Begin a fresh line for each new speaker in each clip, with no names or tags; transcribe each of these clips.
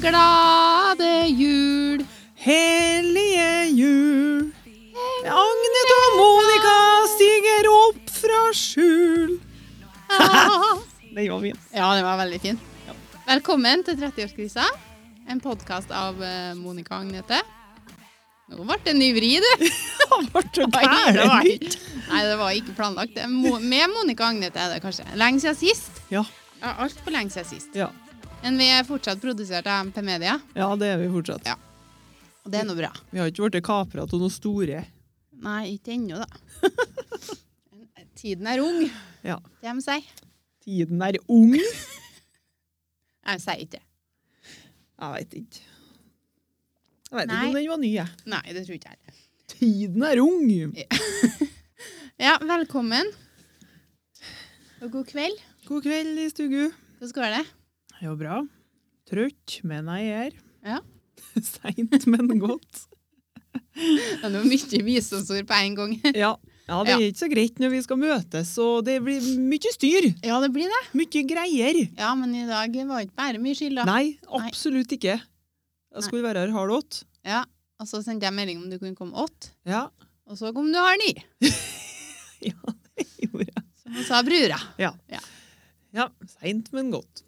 glade jul.
Hellige jul. Agnet og Monica stiger opp fra skjul.
Ah.
Det var fint.
Ja, den var veldig fin. Velkommen til 30-årskrisa. En podkast av eh, Monica og Agnete. Nå ble det en ny vri, du.
Han ble så gæren.
var, nei, det var ikke planlagt. Det er Mo med Monica og Agnete er det kanskje. Lenge siden sist.
Ja,
Ja, Altfor lenge siden sist.
ja.
Men vi er fortsatt produsert av MP Media,
ja, det er vi fortsatt.
Ja. og det er nå bra.
Vi har ikke blitt kapra av noen store.
Nei, ikke ennå, da. Men Tiden er ung,
Ja.
det de sier.
Tiden er ung.
Nei, de sier ikke det.
Jeg veit ikke. Jeg veit ikke
Nei.
om den var ny, jeg.
Nei, det tror ikke jeg.
Tiden er ung.
Ja, velkommen. Og god kveld.
God kveld i stugu.
Hvordan går det?
Det var bra. Trøtt, men jeg er her.
Ja.
Seint, men godt.
Det er noe mye visdomsord på en gang.
Ja. ja, det er ikke så greit når vi skal møtes, og det blir mye styr.
Ja, det blir det.
Mye greier.
Ja, men i dag var ikke bare mye skyld, da.
Nei, absolutt ikke. Jeg skulle være her halv åtte.
Ja, og så sendte jeg melding om du kunne komme åtte,
Ja.
og så kom du halv ni.
ja, det gjorde jeg.
Som hun sa brura.
Ja, Seint, men godt.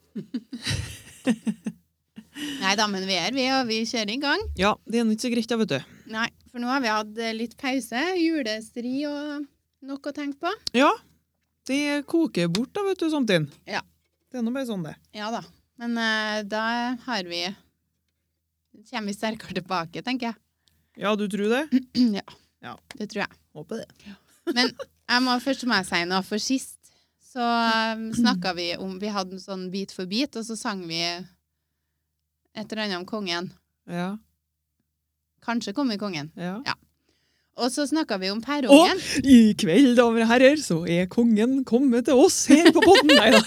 Nei da, men vi er vi, og vi kjører i gang.
Ja, det er nå ikke så greit, da, vet du.
Nei, for nå har vi hatt eh, litt pause, julestri og nok å tenke på.
Ja, det koker bort, da, vet du, samtidig.
Ja.
Det er nå bare sånn, det.
Ja da. Men eh, da har vi Kommer vi sterkere tilbake, tenker jeg.
Ja, du tror det?
ja.
Ja.
Det tror jeg.
Mm. Håper det.
Men jeg må først må jeg si noe, for sist så um, snakka vi om Vi hadde en sånn bit for bit, og så sang vi et eller annet om kongen.
Ja.
Kanskje kommer kongen.
ja.
Og så snakka vi om perrongen.
I kveld, damer og herrer, så er kongen kommet til oss her på podden. Nei da.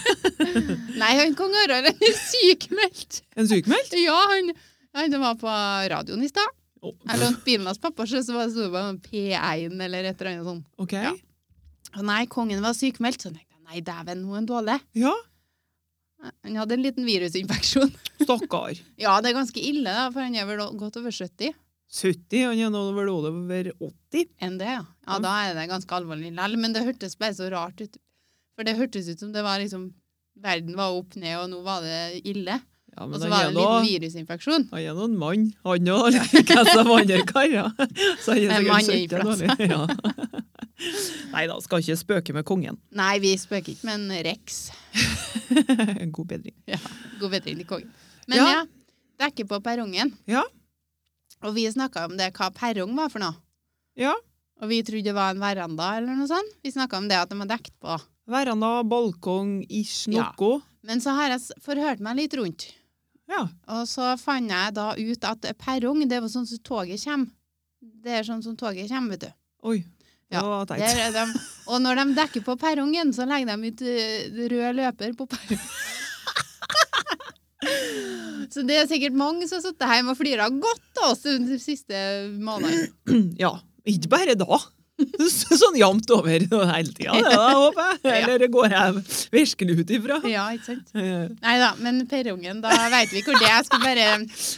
Nei, han kong Harald han er sykmeldt!
En sykmeldt?
Ja, han, han var på radioen i stad.
Å,
Jeg lånte bilen hans pappa, så så var det sto det bare P1 eller et eller annet sånt.
OK.
Ja. Og nei, kongen var sykmeldt. Så tenkte jeg nei, dæven, nå er han dårlig.
Ja.
Han hadde en liten virusinfeksjon.
Stakkar.
Ja, det er ganske ille, da, for han er vel godt over 70.
70, han er nå vel over 80.
enn det, ja. Ja,
Ja.
da er det ganske alvorlig likevel, men det hørtes bare så rart ut. For det hørtes ut som det var liksom Verden var opp ned, og nå var det ille.
Ja,
Og
men
så
han
var det
er
en
nå
liten virusinfeksjon.
han er nå en mann, han òg, like som andre karer. Så han
En
er
mann
sikkert
i
søkka
plass.
dårlig. Ja. Nei da, skal ikke spøke med kongen.
Nei, vi spøker ikke, men Rex.
En god bedring.
God bedring til kongen. Men ja,
Ja.
dekke på perrongen.
Ja.
Og vi snakka om det, hva perrong var for noe.
Ja.
Og vi trodde det var en veranda eller noe sånt. Vi snakka om det at de var dekt på.
Veranda, balkong, ish,
Ja.
noe.
Men så har jeg s- forhørt meg litt rundt.
Ja.
Og så fant jeg da ut at perrong, det er jo sånn som toget kommer. Det er sånn som toget kommer, vet du.
Oi. Det
Ja,
var teit.
Der er de, og når de dekker på perrongen, så legger de ut eh, rød løper på perrongen. så det er sikkert mange som har sittet hjemme og flira godt av oss de siste månedene.
Ja. Ikke bare da. Sånn jevnt over hele tida, det da, håper jeg. Eller går jeg virkelig ut ifra?
Ja, ikke sant?
Eh,
Nei da, men perrongen, da veit vi hvor det er. Jeg skulle bare,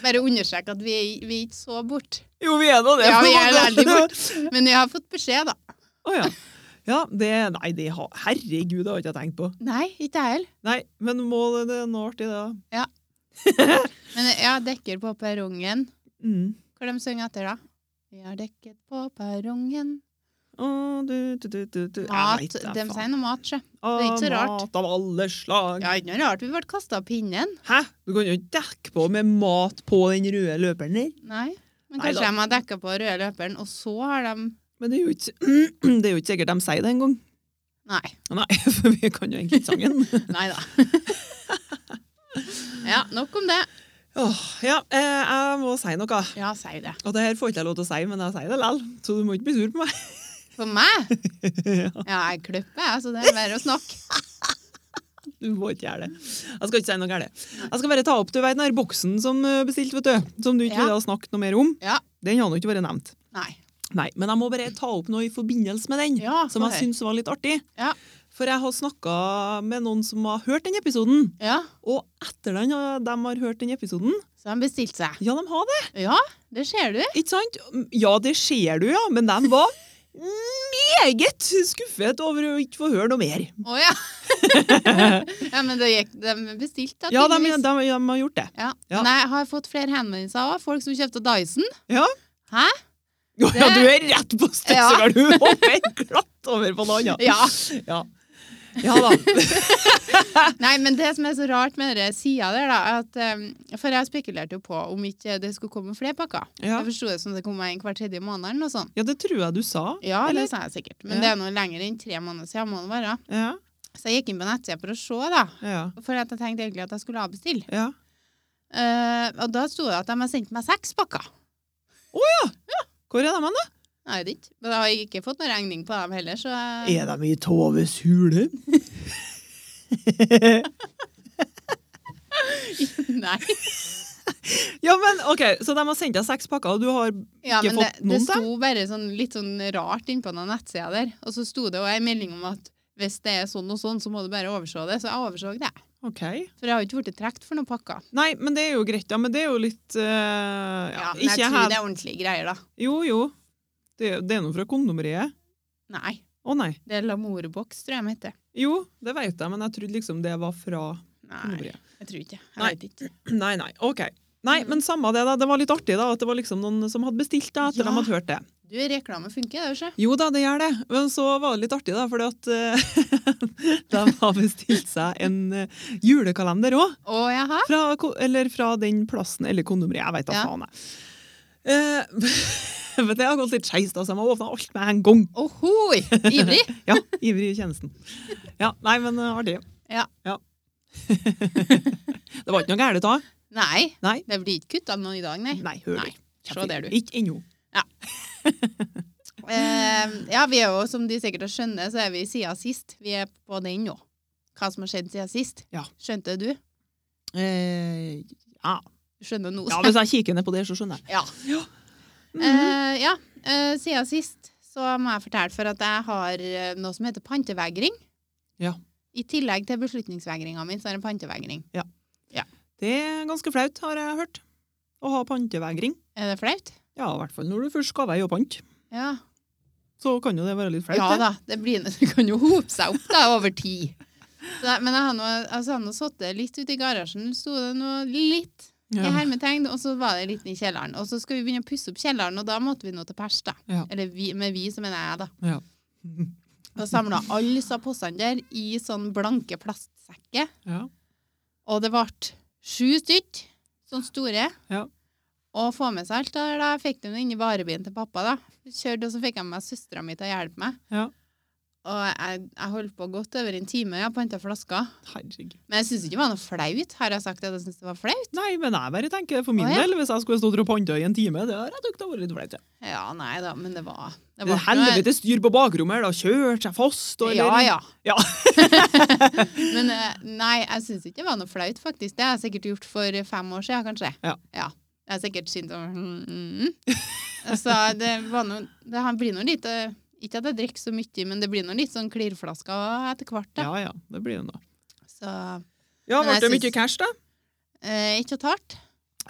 bare understreke at vi, vi er ikke så bort.
Jo, vi er nå det.
Ja,
på en
vi er
måte.
veldig bort. Men vi har fått beskjed, da.
Å ja. Ja, det, nei, det har Herregud, det har jeg ikke tenkt på.
Nei, ikke jeg heller.
Nei, men målet det er noe artig, da.
Men ja, dekker på perrongen.
Mm.
Hva de synger etter da? Vi har dekket på perrongen.
Å, du, du, du, du, du. Jeg
Mat.
vet det,
De
faen.
sier noe mat, sjø.
Å,
er ikke så rart.
Mat av alle slag.
Ja, ikke noe rart vi ble kasta av pinnen.
Hæ? Du kan jo ikke dekke på med mat på den røde løperen der.
Nei. Men
Nei
kanskje
da.
de har dekka på røde løperen, og så har de
Men det er jo ikke, det er jo ikke sikkert de sier det engang.
Nei.
Nei, for vi kan jo egentlig ikke sangen.
Nei da. ja, nok om det.
Åh, ja, eh, jeg må si noe.
Ja, si det.
Og det her får ikke jeg lov til å si, men jeg sier det likevel. Så du må ikke bli sur på meg.
For meg?
Ja.
Ja, jeg klipper, jeg, så det er bare å snakke.
Du må ikke gjøre det. Jeg skal ikke si noe galt. Jeg skal bare ta opp du vet, den her boksen som eh, bestilt, vet du, som du ikke
Ja.
ville ha snakket noe mer om.
Ja.
Den har nå ikke vært nevnt.
Nei.
Nei, Men jeg må bare ta opp noe i forbindelse med den,
Ja,
som
få
jeg syns var litt artig.
Ja.
For jeg har snakka med noen som har hørt den episoden.
Ja,
Og etter den, eh, de har hørt den episoden
så han bestilte seg.
Ja, de har det,
Ja, det ser du.
ikke sant? Ja, det ser du, ja. Men de var meget skuffet over å ikke få høre noe mer.
Å ja. ja, men det gikk, de bestilte da,
Ja, de, de,
tydeligvis.
de har gjort det.
Ja.
Ja.
Men jeg har fått flere henvendelser òg. Folk som kjøpte Dyson.
Ja.
Hæ?
Ja,
Det-
du er rett på stedet,
Ja.
så kan du hoppe glatt over på noe annet.
Ja.
Ja. Ja da.
Nei, men det som er så rart med den sida der, da at, eh, For jeg spekulerte jo på om ikke det skulle komme flere pakker.
Ja.
Jeg forsto det som det kom en hver tredje måned eller noe sånt.
ja, det tror jeg du sa.
Ja,
Eller?
det sa jeg sikkert. Men
Ja.
det er noe lenger enn tre måneder siden. må det være.
Ja,
Så jeg gikk inn på nettsida for å se, da.
ja,
For at jeg tenkte egentlig at jeg skulle avbestille.
ja.
Eh, og da sto det at de har sendt meg seks pakker.
Hvor er de hen, da?
Nei, det er ikke. Men jeg har ikke fått noen regning på dem heller, så
Er de i Toves hule?
Nei.
ja, men ok, så de har sendt deg seks pakker, og du har
Ja,
Ikke
men det,
fått
det
noen, da?
sto bare sånn, litt sånn rart innpå den nettsida der. Og så sto det òg ei melding om at hvis det er sånn og sånn, så må du bare overse det. Så jeg overså det.
Ok.
For jeg har jo ikke blitt trukket for noen pakker.
Nei, men det er jo greit, ja, men det er jo litt eh,
Ja,
ja,
men jeg
ikke
tror
her-
det er ordentlige greier, da.
Jo, jo. Det, det er noe fra kondomeriet.
Nei.
Å nei.
Det er Lamorebox, tror jeg de heter.
Jo, det vet jeg, men jeg trodde liksom det var fra
Nei,
kondomeriet.
jeg tror ikke. Jeg
Nei.
vet ikke.
Nei, nei. Ok.
Mm.
Nei, men samme det, da. Det var litt artig da, at det var liksom noen som hadde bestilt det etter
Ja.
de hadde hørt det.
Du, reklame funker, det, ikke?
Jo da, det gjør det. Men så var det litt artig, da, fordi at eh, de har bestilt seg en eh, julekalender òg.
Å, jaha?
Fra, ko- eller fra den plassen, eller kondomeriet. Jeg veit da
Ja.
faen, jeg. Eh, men det har gått litt skeis, da, så jeg må åpne alt med en gang.
Ohoi! Ivrig?
Ja, ivrig i tjenesten. Ja, nei, men eh, artig.
Ja.
Det var ikke noe gærent da?
Nei.
Nei.
Det blir ikke kutta noen i dag, nei.
Nei, hør
Nei,
du.
se der, du.
Ikke ennå.
Eh, ja, vi er jo, som du sikkert skjønner, så er vi siden sist. Vi er på den nå. Hva som har skjedd siden sist.
Ja.
Skjønte du?
Eh, ja.
Du skjønner nå.
ja,
så-
hvis jeg kikker ned på det, så skjønner jeg.
Ja. Eh, ja. eh, siden sist så må jeg fortelle for at jeg har eh, noe som heter pantevegring.
Ja.
I tillegg til beslutningsvegringa mi, så er det pantevegring.
Det er ganske flaut, har jeg hørt. Å ha pantevegring.
Er det flaut?
Ja, i hvert fall når du først skal veie og pant.
Ja.
Så kan jo det være litt flaut.
ja
det.
da, det, blir, det kan jo hope seg opp da, over tid. Så, jeg- men jeg har nå altså, jeg har nå sittet litt ute i garasjen, sto det nå litt i
Ja.
hermetegn, og så var det litt i kjelleren. Og så skal vi begynne å pusse opp kjelleren, og da måtte vi nå til pers, da.
Ja.
Eller vi, med vi, så mener jeg, da.
Ja.
Og samla alle disse postene der i sånn blanke plastsekker.
Ja.
Og det ble sju stykk, sånn store.
Ja.
Og få med seg alt. Da, da fikk de det inn i varebilen til pappa. da. Kjørte, Og så fikk jeg med meg søstera mi til å hjelpe meg.
Ja.
Og jeg, jeg holdt på godt over en time. Jeg panta flasker.
Herregud.
Men jeg syns ikke det var noe flaut. Har jeg sagt at jeg syns det var flaut?
Nei, men jeg bare tenker for min
Å, ja.
del, hvis jeg skulle stått og panta i en time, det har jeg tykt det har vært litt flaut. ja.
Ja, nei da, men det var det
Det
var
er
ikke noe-
Helvete styr på bakrommet, da kjørt seg fast og
Ja, ja.
Ja.
Men eh, nei, jeg syns ikke det var noe flaut, faktisk. Det har jeg sikkert gjort for fem år siden, kanskje.
Ja.
Jeg har sikkert syntes om mm, mm, mm. Så det, var noe, det her blir nå litt eh, Ikke at jeg drikker så mye, men det blir nå litt sånn klirrflasker etter hvert. da.
Ja, ja, det blir det da.
Så
Ja,
Men
ble det
jeg
mye
syns-
cash, da?
eh, ikke tart.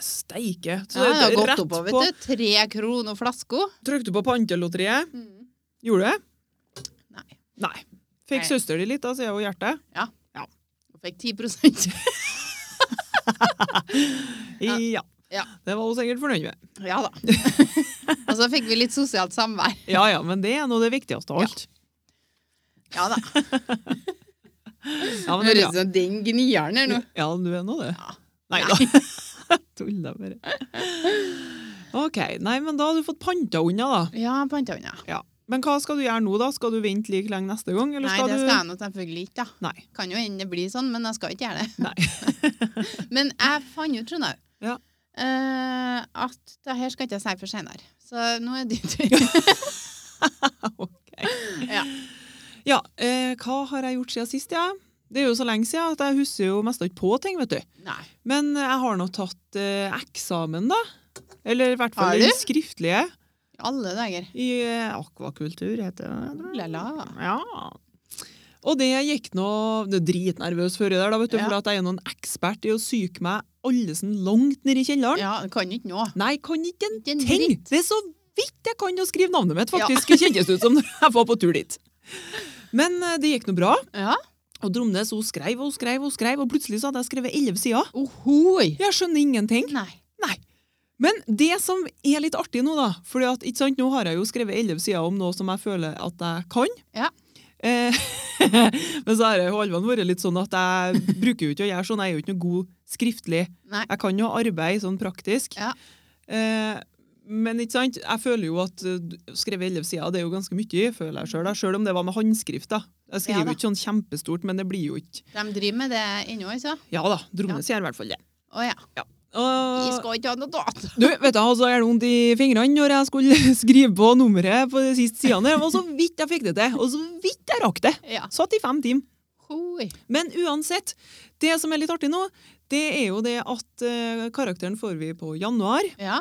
Steike. Så
Ja, det har
det-
gått
rett
oppover,
på-
vet du. Tre kroner flaska.
Trykte på pantelotteriet.
Mm.
Gjorde du det?
Nei.
Nei. Fikk
Nei.
søster di litt, da, sier hun hjertet.
Og fikk 10
Ja.
Ja. Ja.
Det var hun sikkert fornøyd med.
Ja da. Og så fikk vi litt sosialt samvær.
Ja, ja, men det er nå det viktigste av alt.
Ja da.
Ja, men det er
Høres
bra.
ut som den gnieren her nå.
Ja, du er nå det.
Ja.
Nei da. Tulla bare. OK. Nei, men da har du fått panta unna, da.
Ja, panta unna.
Ja. Men hva skal du gjøre nå, da? Skal du vente like lenge neste gang, eller
Nei,
skal
det
du
skal jeg nå selvfølgelig ikke, da.
Nei.
Kan jo hende det blir sånn, men jeg skal ikke gjøre det.
Nei.
Men jeg fant ut, Trond Au,
Ja.
eh, at det her skal ikke jeg si for senere. Så nå er det din tur.
Ok.
Ja.
Ja, eh, hva har jeg gjort siden sist, ja? Det er jo så lenge siden at jeg husker jo mest ikke på ting, vet du.
Nei.
Men jeg har nå tatt eh, eksamen, da. Eller i hvert
Har
fall
du?
den skriftlige.
I alle dager.
I eh, akvakultur, heter det.
La la.
Ja. Og det gikk nå det er dritnervøs før i der, da, vet du,
Ja.
for at jeg er noen ekspert i å syke meg alle sånn langt ned i kjelleren.
Ja, det kan ikke nå.
Nei, kan ikke en
Ikke en
ting!
dritt.
Det er så vidt jeg kan å skrive navnet mitt,
Ja.
faktisk. Det kjentes ut som når jeg var på tur dit. Men eh, det gikk nå bra.
Ja.
Og Dromnes hun skrev og hun skrev, og hun skrev, og plutselig så hadde jeg skrevet elleve sider.
Ohoi!
Jeg skjønner ingenting.
Nei.
Men det som er litt artig nå, da fordi at, ikke sant, Nå har jeg jo skrevet elleve sider om noe som jeg føler at jeg kan.
Ja.
Eh, men så har jeg jo alvene vært litt sånn at jeg bruker jo ikke å gjøre sånn. Jeg er jo ikke noe god skriftlig.
Nei.
Jeg kan jo arbeide sånn praktisk.
Ja.
Eh, men ikke sant, jeg føler jo at eh, skrevet elleve sider det er jo ganske mye, føler jeg sjøl. Sjøl om det var med håndskrift. da. Jeg
Ja da.
skriver jo ikke sånn kjempestort, men det blir jo ikke
De driver med det ennå, altså?
Ja da, Dromnes gjør i hvert fall det.
Å ja. Vi
Og-
skal ikke ha noe dato.
du, vet du, altså, jeg vondt i fingrene når jeg skulle skrive på nummeret på de siste sidene. Det var så vidt jeg fikk det til, og så vidt jeg rakk det.
Ja.
Satt i fem timer.
Hoi.
Men uansett, det som er litt artig nå, det er jo det at eh, karakteren får vi på januar.
Ja.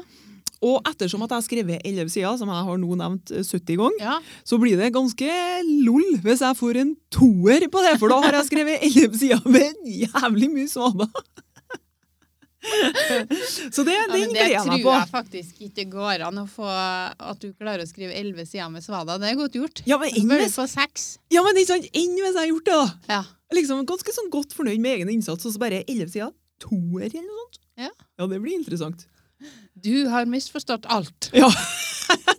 Og ettersom at jeg har skrevet 11 sider, som jeg har nå nevnt eh, 70 ganger,
ja.
så blir det ganske lol hvis jeg får en toer på det, for da har jeg skrevet 11 sider med jævlig mye svaner. Så det,
Ja,
den
men det
gleder jeg
tror
meg på.
jeg faktisk ikke går an å få At du klarer å skrive elleve sider med svada. Det er godt gjort.
Ja, men
Så
enn
bør
hvis,
du få seks.
ja, men ikke sant? Enn hvis jeg har gjort det, da.
Ja.
Liksom Ganske sånn godt fornøyd med egen innsats, og så bare 11 sider. Toer, eller noe sånt.
Ja.
det blir interessant.
Du har misforstått alt.
Ja,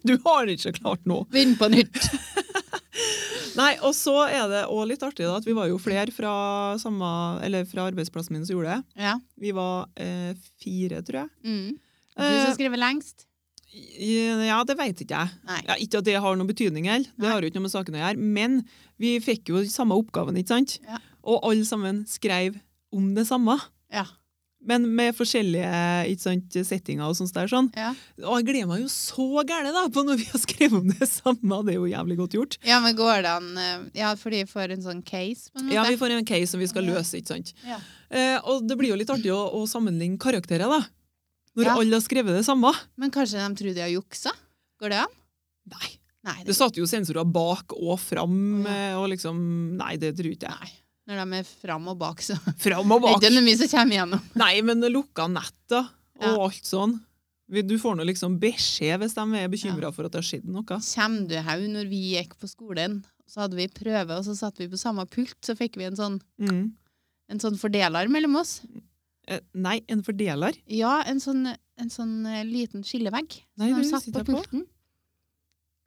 Du har det ikke klart nå.
Begynn på nytt.
Nei, og så er det også litt artig da, at vi var jo flere fra, samme, eller fra arbeidsplassen min som gjorde det.
Ja.
Vi var eh, fire, tror jeg.
Mm. Du
Eh,
som skriver lengst.
i- Ja, det veit ikke jeg.
Nei.
Ja, ikke at det har noen betydning heller, det
Nei.
har jo ikke noe med saken å gjøre. Men vi fikk jo samme oppgaven, ikke sant?
Ja.
Og alle sammen skrev om det samme.
Ja.
Men med forskjellige ikke sant, settinger og sånt der. sånn.
Ja.
Og jeg gleder meg jo så gære da, på når vi har skrevet om det samme. Det er jo jævlig godt gjort.
ja, men går det an eh, Ja, fordi vi får en sånn case, på en måte.
Ja, Vi får en case som vi skal løse. ikke sant?
Ja.
Eh, og det blir jo litt artig å, å sammenligne karakterer, da. Når
Ja.
alle har skrevet det samme.
Men kanskje de tror de har juksa? Går det an?
Nei.
Nei,
Det
det
satt jo sensorer bak og fram,
Å, ja.
eh, og liksom Nei, det tror ikke jeg.
Nei. Når de er fram og bak, så
Fram og
det er
bak.
ikke noe mye som kommer igjennom.
Nei, men lukka netter og
Ja.
alt sånn. Vi- Du får nå liksom beskjed hvis de er bekymra for at det har skjedd noe.
Kjem du haug når vi gikk på skolen? Så hadde vi prøve, og så satt vi på samme pult, så fikk vi en sånn,
Mm.
en sånn fordeler mellom oss.
Eh, nei, en fordeler?
Ja, en sånn, en sånn eh, liten skillevegg.
Nei,
som
det
de satt
sitter
på
jeg på.
pulten.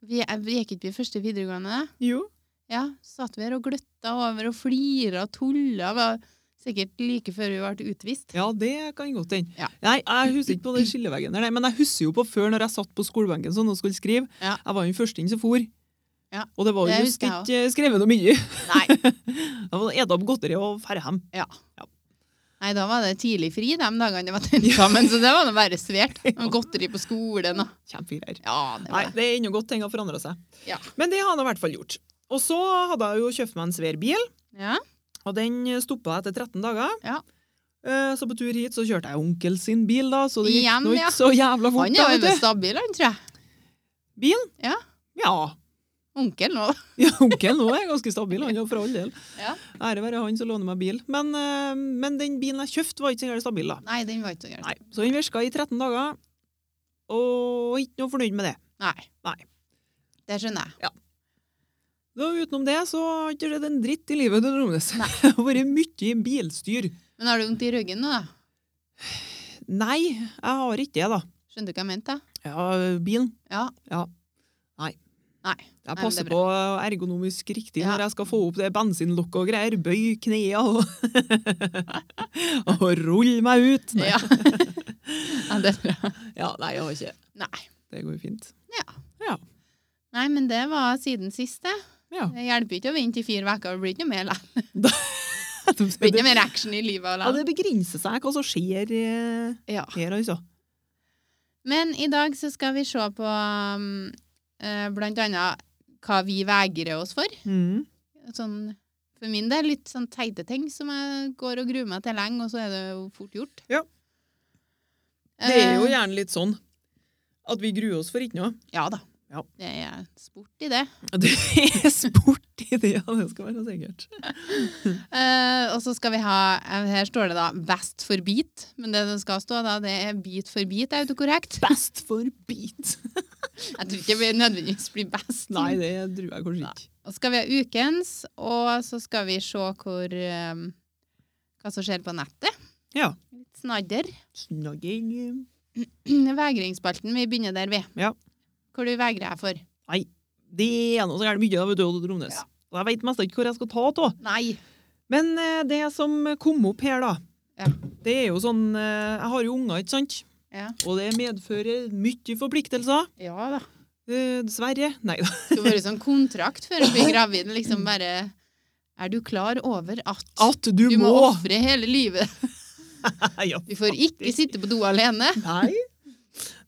Vi, jeg, vi gikk ikke i første videregående.
Jo.
Ja, satt vi her og gløtta over og flira og tulla. Var sikkert like før vi ble utvist.
Ja, det kan godt hende.
Ja.
Nei, jeg husker ikke på den skilleveggen der, nei, men jeg husker jo på før når jeg satt på skolebenken sånn og skulle skrive.
Ja.
Jeg var jo den første inn som for.
Ja,
Og det var
det
jo just
husker jeg
ikke eh, skrevet noe mye.
Nei.
Jeg var edda opp godteri og ferhem.
Nei, da var det tidlig fri de dagene det var tentamen, så det var nå bare svært. Det var Godteri på skolen og
Kjempegreier.
Ja, det
Nei,
var det.
det er ennå godt ting har forandra seg.
Ja.
Men det har jeg i hvert fall gjort. Og så hadde jeg jo kjøpt meg en svær bil.
Ja,
Og den stoppa etter 13 dager.
Ja.
Eh, Så på tur hit så kjørte jeg onkel sin bil, da, så det gikk
Igjen,
nå
ja.
ikke så jævla fort.
han
da,
er
vet
jo
du.
stabil, han, tror jeg.
Bilen?
Ja.
Ja.
Onkel nå.
ja, onkel nå er ganske stabil, han er for all del.
Ja.
Ære være han som låner meg bil. Men, eh, men den bilen jeg kjøpte, var ikke så jævlig stabil, da.
Nei, den var ikke så gæren.
Nei. Så den virka i 13 dager, og ikke noe fornøyd med det.
Nei.
Nei.
Det skjønner jeg.
Da, utenom det så har ikke skjedd en dritt i livet til Nordnes. Det har vært mye bilstyr.
Men har du vondt i ryggen nå, da?
Nei, jeg har ikke det, da.
Skjønner du hva jeg mente? da?
Ja, bilen.
Ja.
Jeg
Nei, men
passer
det er
på ergonomisk riktig
Ja.
når jeg skal få opp det bensinlokket og greier. Bøy knea og, og rulle meg ut. Nei.
Ja. ja, det er bra.
Ja, nei, jeg har ikke.
Nei.
Det går jo fint.
Nei, men det var siden siste.
Ja.
Det hjelper ikke å vente i fire uker. Det blir ikke noe mer, likevel.
Det,
Det blir ikke noe mer action i livet.
ja,
likevel.
det begrenser seg hva som skjer eh,
Ja.
her, altså.
Men i dag så skal vi se på um, eh, blant annet hva vi vegrer oss for.
Mm.
Sånn, for min del litt sånn teite ting som jeg går og gruer meg til lenge, og så er det jo fort gjort.
Ja. Det er jo
Eh,
Eh. gjerne litt sånn at vi gruer oss for ikke noe.
Ja da.
Ja.
Det er sport i det.
Det er sport i det, ja, det skal være sikkert.
Eh, og så skal vi ha eh, Her står det da 'best for bit', men det det skal stå da, det er 'bit for bit' autokorrekt.
Best for beat.
Jeg tror ikke vi nødvendigvis blir best.
Nei, det tror jeg kanskje ikke.
Og så skal vi ha ukens, og så skal vi se hvor eh, hva som skjer på nettet.
Ja.
Litt snadder.
Snagging.
Vegringsspalten, vi begynner der, vi.
Ja.
Hvor du vegrer deg for.
Det er noe så gærent mye, da, vet du, Odd Romnes.
Ja.
Og Jeg veit mest ikke hvor jeg skal ta av.
Nei.
Men eh, det som kom opp her, da,
Ja.
det er jo sånn eh, Jeg har jo unger, ikke sant?
Ja,
Og det medfører mye forpliktelser.
ja da.
Eh, dessverre. Nei da.
Det skal være sånn kontrakt før du blir gravid. Liksom bare Er du klar over at
At du,
du må
må!
ofre hele livet?
ja.
Du får ikke sitte på do alene.
Nei.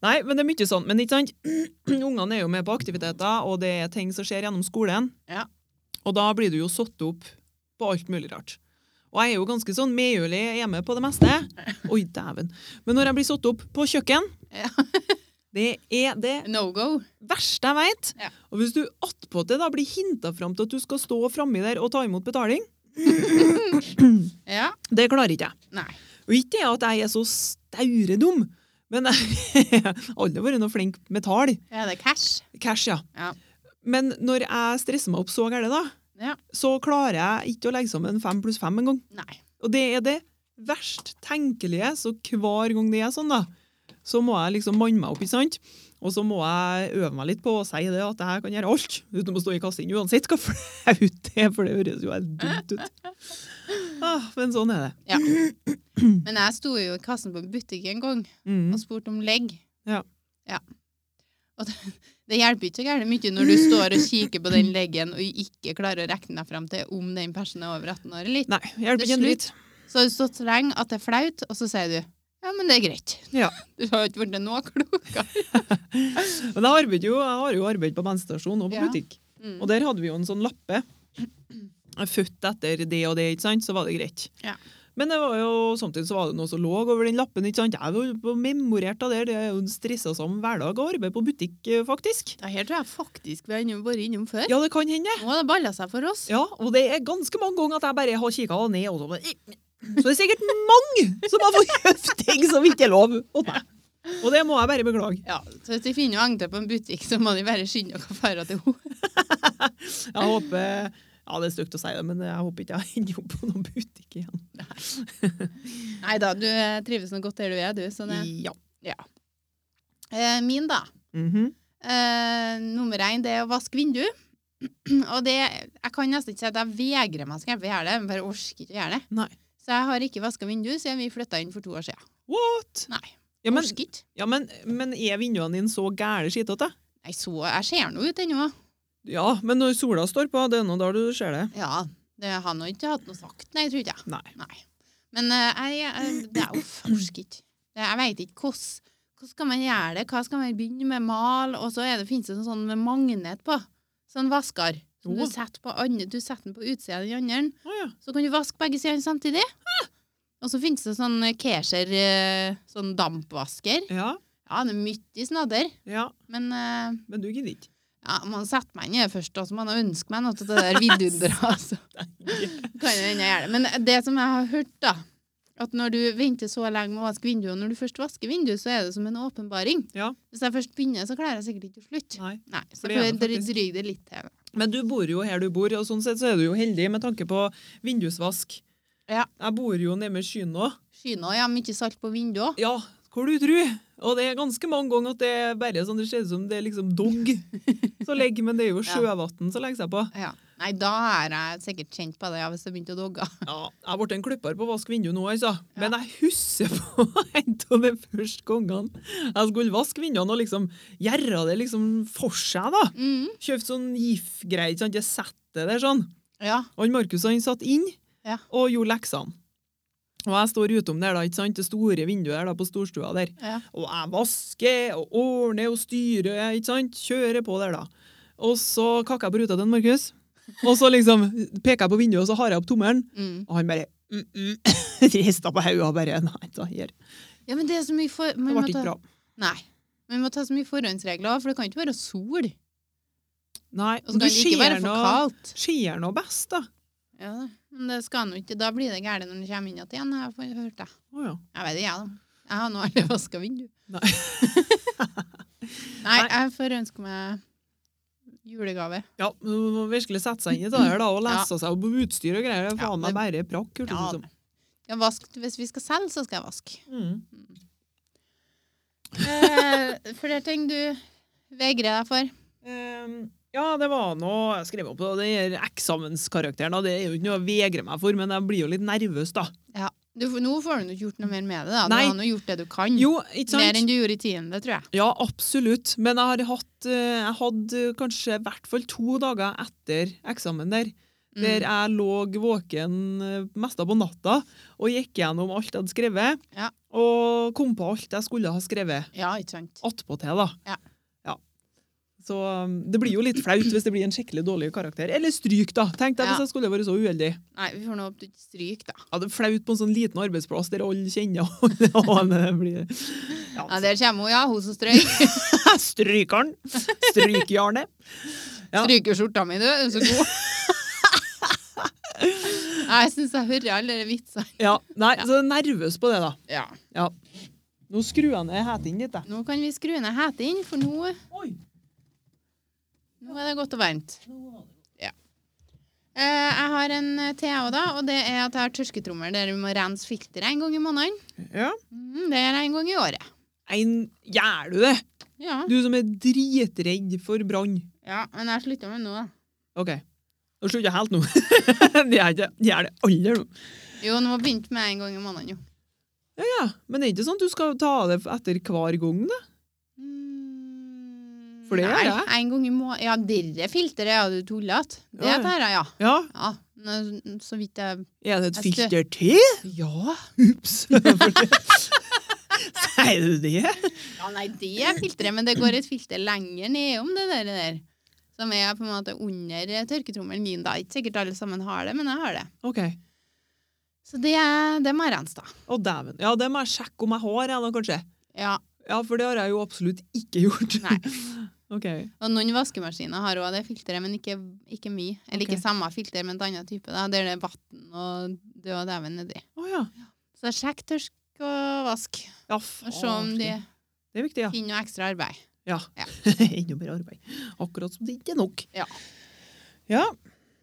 Nei, men det er mye sånn. Men ikke sant? Ungene er jo med på aktiviteter, og det er ting som skjer gjennom skolen.
Ja.
Og da blir du jo satt opp på alt mulig rart. Og jeg er jo ganske sånn medgjørlig hjemme på det meste. Oi, dæven. Men når jeg blir satt opp på kjøkken,
Ja.
det er det
No go.
verste jeg veit.
Ja.
Og hvis du attpåtil da blir hinta fram til at du skal stå framme der og ta imot betaling,
Ja.
det klarer ikke jeg.
Nei.
Og ikke det at jeg er så stauredum, men jeg har aldri vært noe flink med tall.
Ja, det er cash.
Cash, ja.
Ja.
Men når jeg stresser meg opp så gærent, da,
Ja.
så klarer jeg ikke å legge sammen fem pluss fem engang.
Nei.
Og det er det verst tenkelige, så hver gang det er sånn, da, så må jeg liksom manne meg opp, ikke sant? Og så må jeg øve meg litt på å si det at jeg kan gjøre alt, uten å stå i kassen uansett hva flaut det er, for det høres jo helt dumt ut. Ah, men sånn er det.
Ja. Men jeg sto jo i kassen på en butikk en gang
Mm.
og spurte om legg.
Ja.
Ja. Og det, det hjelper ikke så gærent mye når du står og kikker på den leggen og ikke klarer å regne deg fram til om den personen er over 18 år eller ikke.
Nei, hjelper
Det
ikke
er
en dritt.
Så har du stått så lenge at det er flaut, og så sier du ja, men det er greit.
Ja.
Du har jo ikke blitt noe klokere.
Men jeg, arbeider jo, jeg har jo arbeid på bensinstasjon og på
Ja.
butikk.
Mm.
Og der hadde vi jo en sånn lappe. Født etter det og det, ikke sant? så var det greit.
Ja.
Men det var jo, samtidig så var det noe som lå over den lappen. ikke sant? Jeg var jo på- memorert av det. Det er jo en stressa som hverdag å arbeide på butikk, eh, faktisk.
Det her tror jeg faktisk vi har innom- vært innom før.
Ja, det kan hende.
Nå har det balla seg for oss.
Ja, Og det er ganske mange ganger at jeg bare har kikka ned. og så bare, Så det er sikkert mange som har fått kjøpt ting som ikke er lov. Og, og det må jeg bare beklage.
Ja, så hvis de finner Agnete på en butikk, så må de bare skynde dere å dra til henne.
Jeg håper Ja, det er stygt å si det, men jeg håper ikke jeg ender opp på noen butikk igjen.
Nei da, du eh, trives nå godt der du Sånn er, du. Så det,
Ja.
eh, min, da.
Mhm.
Eh, nummer én det er å vaske vindu. Og det Jeg kan nesten ikke si at jeg vegrer meg så gærent for å gjøre det. Jeg bare orker ikke å gjøre det.
Nei.
Så jeg har ikke vaska vindu siden vi flytta inn for to år siden.
What?
Nei.
Ja, men,
orker ikke.
ja, men, men er vinduene dine så gæle skitete?
Nei, så Jeg ser nå ut ennå.
Ja, men når sola står på, det er nå da du ser det.
Ja. Det har nå ikke hatt noe sagt, nei, tror ikke jeg.
Nei.
Nei. Men eh, jeg, jeg- det er jo forsk ikke. Det- Jeg veit ikke hvordan. Hvordan skal man gjøre det? Hva skal man begynne med? Mal? Og så er det, finnes det en sånn med magnet på. Sånn vasker. Som du
Oh.
setter, på andre, du setter den på utsida av den andre.
Å ja.
Så kan du vaske begge sidene samtidig. Ah! Og så finnes det sånn eh, Kesher, eh, sånn dampvasker.
ja.
Ja, det er mye snadder.
Ja,
Men eh,
men du gidder ikke.
ja, man setter meg inn i det først, og så må man ønske meg noe av det der vidunderet. Altså. Kan jo hende jeg gjør det. Men det som jeg har hørt, da At når du venter så lenge med å vaske vinduet, og når du først vasker vinduet, så er det som en åpenbaring.
Ja.
Hvis jeg først begynner, så klarer jeg sikkert ikke å slutte.
Nei.
Nei, så
For det er
får
det
jeg
faktisk.
dryge det litt til.
Men du bor jo her du bor, og sånn sett så er du jo heldig med tanke på vindusvask.
Ja.
Jeg bor jo nede med skyen nå.
Skyna, ja, mye salt på vinduet òg.
Ja, hvor du tror. Og det er ganske mange ganger at det er bare sånn, det ser ut som det er liksom dog som ligger, men det er jo sjøvann som legger seg på.
Ja. Nei, da er jeg sikkert kjent på det, ja, hvis jeg begynte å dogge.
Ja, jeg ble en klipper på å vaske vinduet nå, altså. Men jeg husker på en av de første gangene jeg skulle vaske vinduene og liksom gjøre det liksom for seg, da.
Mm.
Kjøpte sånn gif-greie, ikke sant. Jeg setter det sånn.
Ja.
Og han Markus han satt inn
Ja.
og gjorde leksene. Og jeg står utom der, da, ikke sant? det store vinduet der da, på storstua der.
Ja.
Og jeg vasker og ordner og styrer, ikke sant? Kjører på der, da. Og så kakker jeg på ruta til han Markus. Og så liksom peker jeg på vinduet, og så har jeg opp tommelen.
Mm.
Og han bare mm, mm. rista på hodet og bare Nei, da her.
ja, men det er så mye for
Det
man
ble
må ta-
ikke bra.
Nei. Men vi må ta så mye forhåndsregler, for det kan ikke være sol.
Nei,
Og så kan altså,
du
det ikke
ser
være for
noe,
kaldt.
ser noe best, da.
Ja, da. men det skal nå ikke. Da blir det gærent når det kommer inn igjen, har jeg fått hørt. Jeg,
Å ja.
jeg vet ikke, jeg, da. Jeg har nå aldri vaska vindu.
Nei.
Nei, jeg får ønske meg julegave.
ja. men Man må virkelig sette seg inn i det her, da, og lese seg opp på utstyr og greier. Det er
Ja,
faen meg bare prakk.
Ja,
hørtes det ut som.
Jeg vask, hvis vi skal selge, så skal jeg vaske.
Mm.
Eh, flere ting du vegrer deg for.
Ehm, ja, det var noe jeg skrev opp på den her eksamenskarakteren. da. Det er jo ikke noe jeg vegrer meg for, men jeg blir jo litt nervøs, da.
Mm. Du, nå får du ikke gjort noe mer med det. da.
Nei.
Du har nå gjort det du kan.
Jo, ikke sant?
Mer enn du gjorde i tiende, tror jeg.
Ja, absolutt. Men jeg har hatt eh, Jeg hadde kanskje i hvert fall to dager etter eksamen der,
Mm.
der jeg lå våken eh, mest av på natta og gikk gjennom alt jeg hadde skrevet,
Ja.
og kom på alt jeg skulle ha skrevet
Ja, ikke sant.
attpåtil, da.
Ja.
Ja. Så um, det blir jo litt flaut hvis det blir en skikkelig dårlig karakter. Eller stryk, da. Tenk deg
Ja.
hvis jeg skulle vært så uheldig.
Nei, vi får nå opp til stryk, da.
Ja, det er flaut på en sånn liten arbeidsplass der alle kjenner og det blir
Ja,
Ja,
Der kommer hun, ja. Hun som strøyk.
Strykeren! Strykjarnet. Ja.
Stryker skjorta mi, du. Du er så god. Nei, jeg syns jeg hører alle de vitsene.
Ja, nei,
Ja.
så jeg er nervøs på det, da.
Ja.
Ja. Nå skrur jeg ned hetingen litt, jeg.
Nå kan vi skru ned heten, for nå,
Oi!
nå er det godt og varmt. Eh, jeg har en eh, til, jeg også da. Og det er at jeg har tørsketrommel der vi må rense filteret en gang i måneden.
Ja.
Mm, det gjør jeg en gang i året.
Ein, gjør du det?
Ja.
Du som er dritredd for brann.
ja men jeg slutta med det nå, da.
OK. Nå slutter jeg helt nå. Det gjør ikke- det gjør det aldri nå.
Jo, nå har jeg begynt med en gang i måneden, jo.
Ja, Men det er ikke sånn at du skal ta det etter hver gang, da?
Mm,
For det gjør
nei,
jeg.
En gang i måneden. Ja, dere filteret, ja, du tullete. Det
Ja, ja.
tar jeg, ja.
Ja.
ja. nå- Så vidt jeg
Er det et
Jeg stø-
filter til? Ja. Ups. Sier du det?
Ja, nei, det er filteret, men det går et filter lenger nedom det der. der. Som er på en måte under tørketrommelen min, da. Ikke sikkert alle sammen har det, men jeg har det.
OK.
Så det, er- det må jeg rense, da.
Å, dæven. Ja, det må jeg sjekke om jeg har, jeg da, kanskje.
Ja,
Ja, for det har jeg jo absolutt ikke gjort.
nei.
OK.
Og noen vaskemaskiner har òg det filteret, men ikke, ikke mye. Eller
Ok.
ikke samme filter, men et annet type, da. Der det er vann og død og dæven nedi.
Å ja.
Så sjekk tørsk og vask,
Ja,
og se om
farsken.
de
Det er viktig, ja.
finner noe ekstra arbeid.
ja.
Ja.
Enda mer arbeid. Akkurat som det ikke er nok.
Ja.
Ja,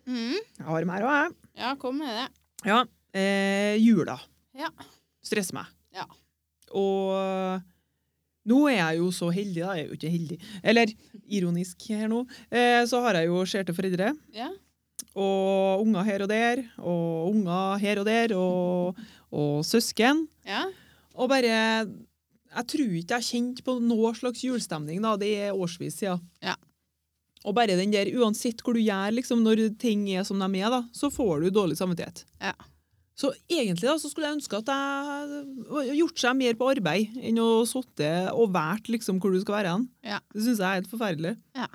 Mm.
jeg har mer òg, jeg.
Ja, kom med det.
Ja. Eh, jula.
Ja.
Stresser meg.
Ja.
Og nå er jeg jo så heldig, da. Jeg er jo ikke heldig. Eller ironisk her nå, eh, så har jeg jo skjærte foreldre.
Ja.
Og unger her og der, og unger her og der, og, og søsken.
ja.
Og bare Jeg tror ikke jeg kjente på noe slags julestemning, da. Det er årsvis siden.
Ja.
Og bare den der, uansett hvor du gjør, liksom, når ting er som de er, da, så får du dårlig samvittighet.
Ja.
Så egentlig da, så skulle jeg ønske at jeg gjort seg mer på arbeid enn å sitte og vært liksom, hvor du skal være hen.
Ja.
Det syns jeg er helt forferdelig.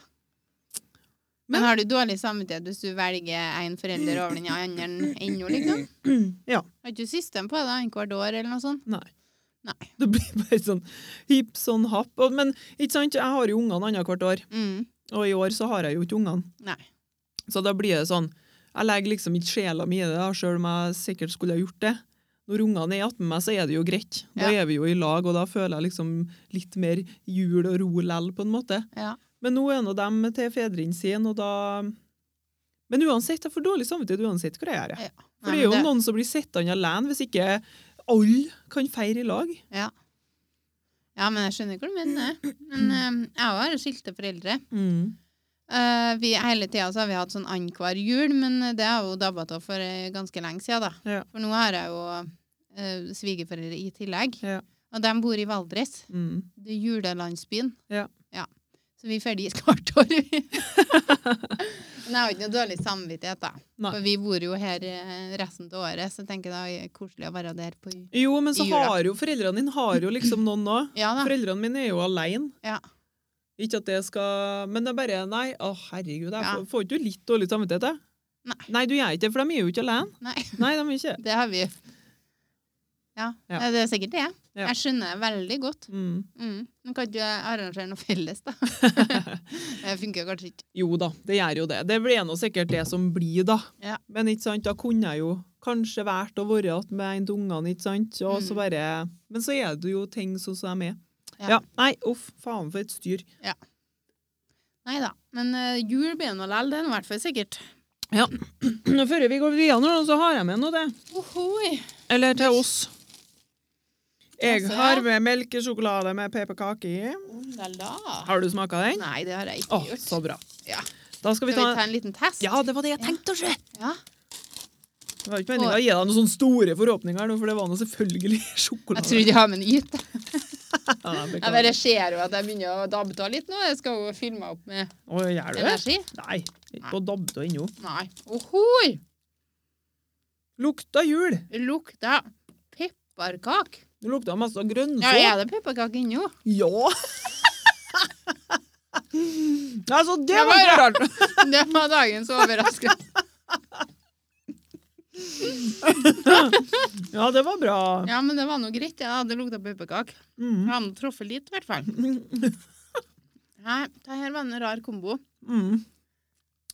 Men
Men-
har du dårlig samvittighet hvis du velger en forelder over den andre ennå, liksom?
Ja.
Har ikke du system på det annethvert år, eller noe sånt?
Nei.
Nei.
Det blir bare sånn hipp, sånn happ. Og- Men ikke sant, jeg har jo ungene annethvert år,
Mm.
og i år så har jeg jo ikke ungene.
Nei.
Så da blir det sånn Jeg legger liksom ikke sjela mi i det, da, selv om jeg sikkert skulle ha gjort det. Når ungene er attmed meg, så er det jo greit. Da
Ja.
er vi jo i lag, og da føler jeg liksom litt mer jul og ro lell, på en måte.
Ja.
Men nå er nå dem til fedrene sine, og da Men uansett, jeg får dårlig samvittighet uansett hva jeg gjør. jeg.
Ja.
For
Nei,
det er jo
men
noen som blir sittende alene hvis ikke alle kan feire i lag.
Ja, men jeg skjønner hva du mener. Men eh, jeg har jo skilte foreldre.
Mm.
Eh, vi, hele tida så har vi hatt sånn annenhver jul, men det har jo dabba av for eh, ganske lenge siden, da.
Ja.
For nå har jeg jo eh, svigerforeldre i tillegg.
Ja.
Og de bor i Valdres,
Mm.
det er julelandsbyen.
Ja.
Så vi er ferdig hvert år. vi. men jeg har jo ikke noe dårlig samvittighet, da.
Nei.
For vi bor jo her eh, resten av året, så jeg tenker det er koselig å være der på ju-
Jo, men så
I jula.
har jo foreldrene dine har jo liksom noen òg.
Ja da.
Foreldrene mine er jo alene.
Ah. Ja.
Ikke at det skal Men det er bare Nei, å herregud, jeg
Ja.
får, får ikke du litt dårlig samvittighet? jeg?
Nei.
nei, du gjør ikke det, for de er jo ikke alene.
Nei,
Nei, de er ikke
det har vi. Ja,
Ja.
Nei, det er sikkert det.
Ja.
Jeg skjønner det veldig godt.
Mm.
Mm. Men kan ikke jeg arrangere noe felles, da? det funker kanskje ikke.
Jo da, det gjør jo det. Det blir nå sikkert det som blir, da.
Ja.
Men ikke sant, da kunne jeg jo kanskje valgt å være att med en av ungene, ikke sant. Og så
Mm.
bare, men så er det jo ting sånn som de er.
Ja.
Ja. ja. Nei, uff, faen for et styr.
Nei da. Men eh, jul blir nå likevel, det er nå i hvert fall sikkert.
Nå, Før vi går videre, nå, så har jeg med noe til.
Ohoi.
Eller til oss. Jeg
Altså, ja.
har med melkesjokolade med pepperkake i.
Oh, la, la.
Har du smaka den?
Nei, det har jeg ikke
Å,
gjort.
så bra.
Ja.
Da skal
Skal
sånn. vi ta
en liten test?
Ja, det var det jeg tenkte å se!
Ja.
Det var ikke meningen å gi deg noen sånne store forhåpninger, nå, for det var nå selvfølgelig
Jeg
sjokolade.
tror de har med en yt.
Ja, nei,
Jeg
beklager.
bare ser jo at jeg begynner å dabbe av litt nå. Jeg skal jo fylle meg opp med
Å, gjør du det?
energi.
Nei, ikke på dabbe ennå.
Nei. Ohoi!
Lukta jul.
Det lukter pepperkake.
Det lukta masse
Ja,
grønnsår.
er det pepperkake ennå?
Ja. altså, det
Ja,
var
ja.
ikke rart.
Det var dagens overraskelse.
Ja, det var bra.
Ja, men det var nå greit. Ja, det lukta pepperkake. Jeg
Mm.
hadde truffet litt, i hvert fall. Nei, det her var en rar kombo.
Mm.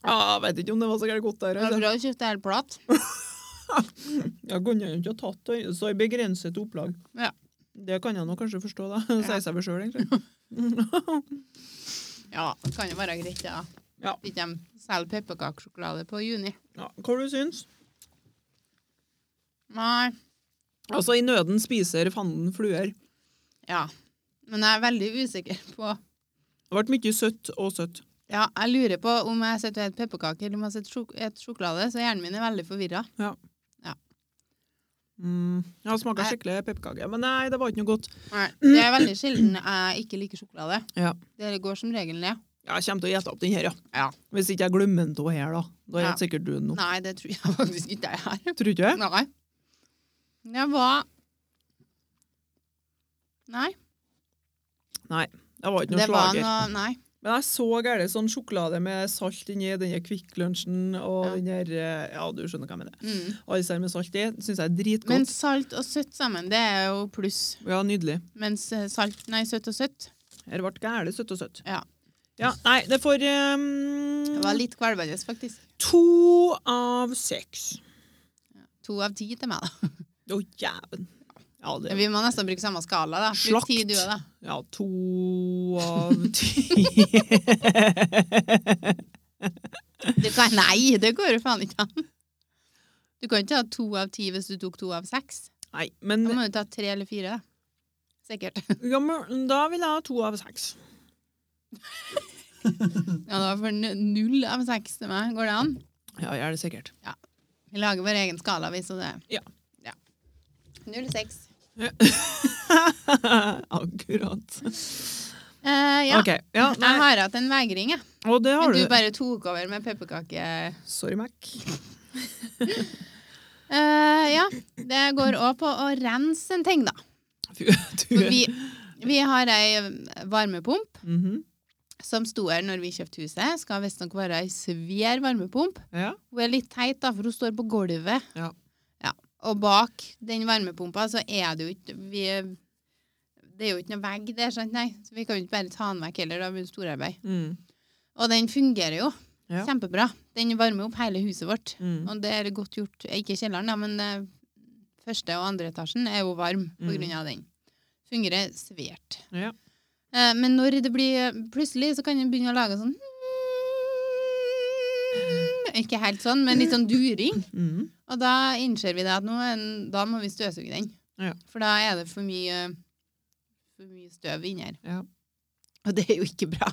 Ja, jeg vet ikke om det var så gærent godt der.
Det var
Altså.
bra å kjøpe hel plat.
Jeg kunne jo ikke ha tatt det så i begrenset opplag.
Ja.
Det kan jeg nå kanskje forstå, da. Sier seg vel sjøl, egentlig.
Ja, det kan jo være greit, ja.
Ja.
Ikke de selger pepperkakesjokolade på juni.
Ja, hva du syns
Nei.
Altså, i nøden spiser fanden fluer.
Ja. Men jeg er veldig usikker på
Det ble mye søtt og søtt.
Ja, jeg lurer på om jeg sitter og spiser pepperkaker eller om jeg sitter sjok et sjokolade, så hjernen min er veldig forvirra.
Mm. Jeg smaka
Nei.
skikkelig pepperkake, men nei, det var ikke noe godt.
Det er veldig sjelden jeg ikke liker sjokolade.
Ja.
Det går som regel ned.
Ja, Jeg kommer til å gjette opp den her, ja.
Ja.
Hvis ikke jeg glemmer den av her, da. Da
Ja.
gjetter sikkert du den nå.
Nei, det tror jeg faktisk ikke jeg er.
Tror ikke jeg.
Nei. Det var Nei.
Det var ikke noe
Det var
slager.
noe Nei.
Men jeg så gærent sånn sjokolade med salt inni denne Kvikk Lunsjen og
Ja.
den der eh, Ja, du skjønner hva jeg mener.
Mm.
Icer med salt i syns jeg er dritgodt.
Men salt og søtt sammen, det er jo pluss.
Ja, nydelig.
Mens eh, salt Nei, søtt og søtt.
Her ble gæle søtt og søtt.
Ja.
Ja, nei, det får eh,
Det var litt kvalmende, faktisk.
to av seks.
To av ti til meg, da.
Å, jæven. Ja, det
Vi må nesten bruke samme skala, da. Bruk
Slakt.
ti, du òg, da.
Ja, to av ti
Du kan, nei, det går jo faen ikke an. Du kan ikke ha to av ti hvis du tok to av seks.
Nei, men
Da må du ta tre eller fire. da. Sikkert.
ja, men Da vil jeg ha to av seks.
Ja, da får n- null av seks til meg. Går det an?
Ja, jeg er det sikkert.
Vi lager vår egen skala, vi, så det
Ja.
ja. Null seks.
Akkurat.
Eh, ja.
OK. Ja,
Jeg
nei.
har hatt en vegring, jeg.
Og det
Men
har
du
du.
bare tok over med pepperkake.
Sorry, Mac.
Eh, ja. Det går òg på å rense en ting, da.
Fy, du
For
er
vi, vi har ei varmepump.
Mhm.
som sto her når vi kjøpte huset, skal visstnok være ei svær varmepump.
Ja.
Hun er litt teit, da, for hun står på gulvet.
Ja.
Ja. Og bak den varmepumpa så er det jo ikke vi, Det er jo ikke noe vegg der, sant? Nei. Så vi kan jo ikke bare ta den vekk heller, da blir det storarbeid.
Mm.
Og den fungerer jo.
Ja.
Kjempebra. Den varmer opp hele huset vårt.
Mm.
Og det er godt gjort. Ikke kjelleren, da, men eh, første og andre etasjen er jo varm på
Mm.
grunn av den. Fungerer svært.
Ja.
Eh, men når det blir plutselig, så kan en begynne å lage sånn Ikke helt sånn, men litt sånn during.
Mm.
Og da innser vi det at nå er den- da må vi støvsuge den.
Ja.
For da er det for mye, for mye støv inni her.
Ja.
Og det er jo ikke bra.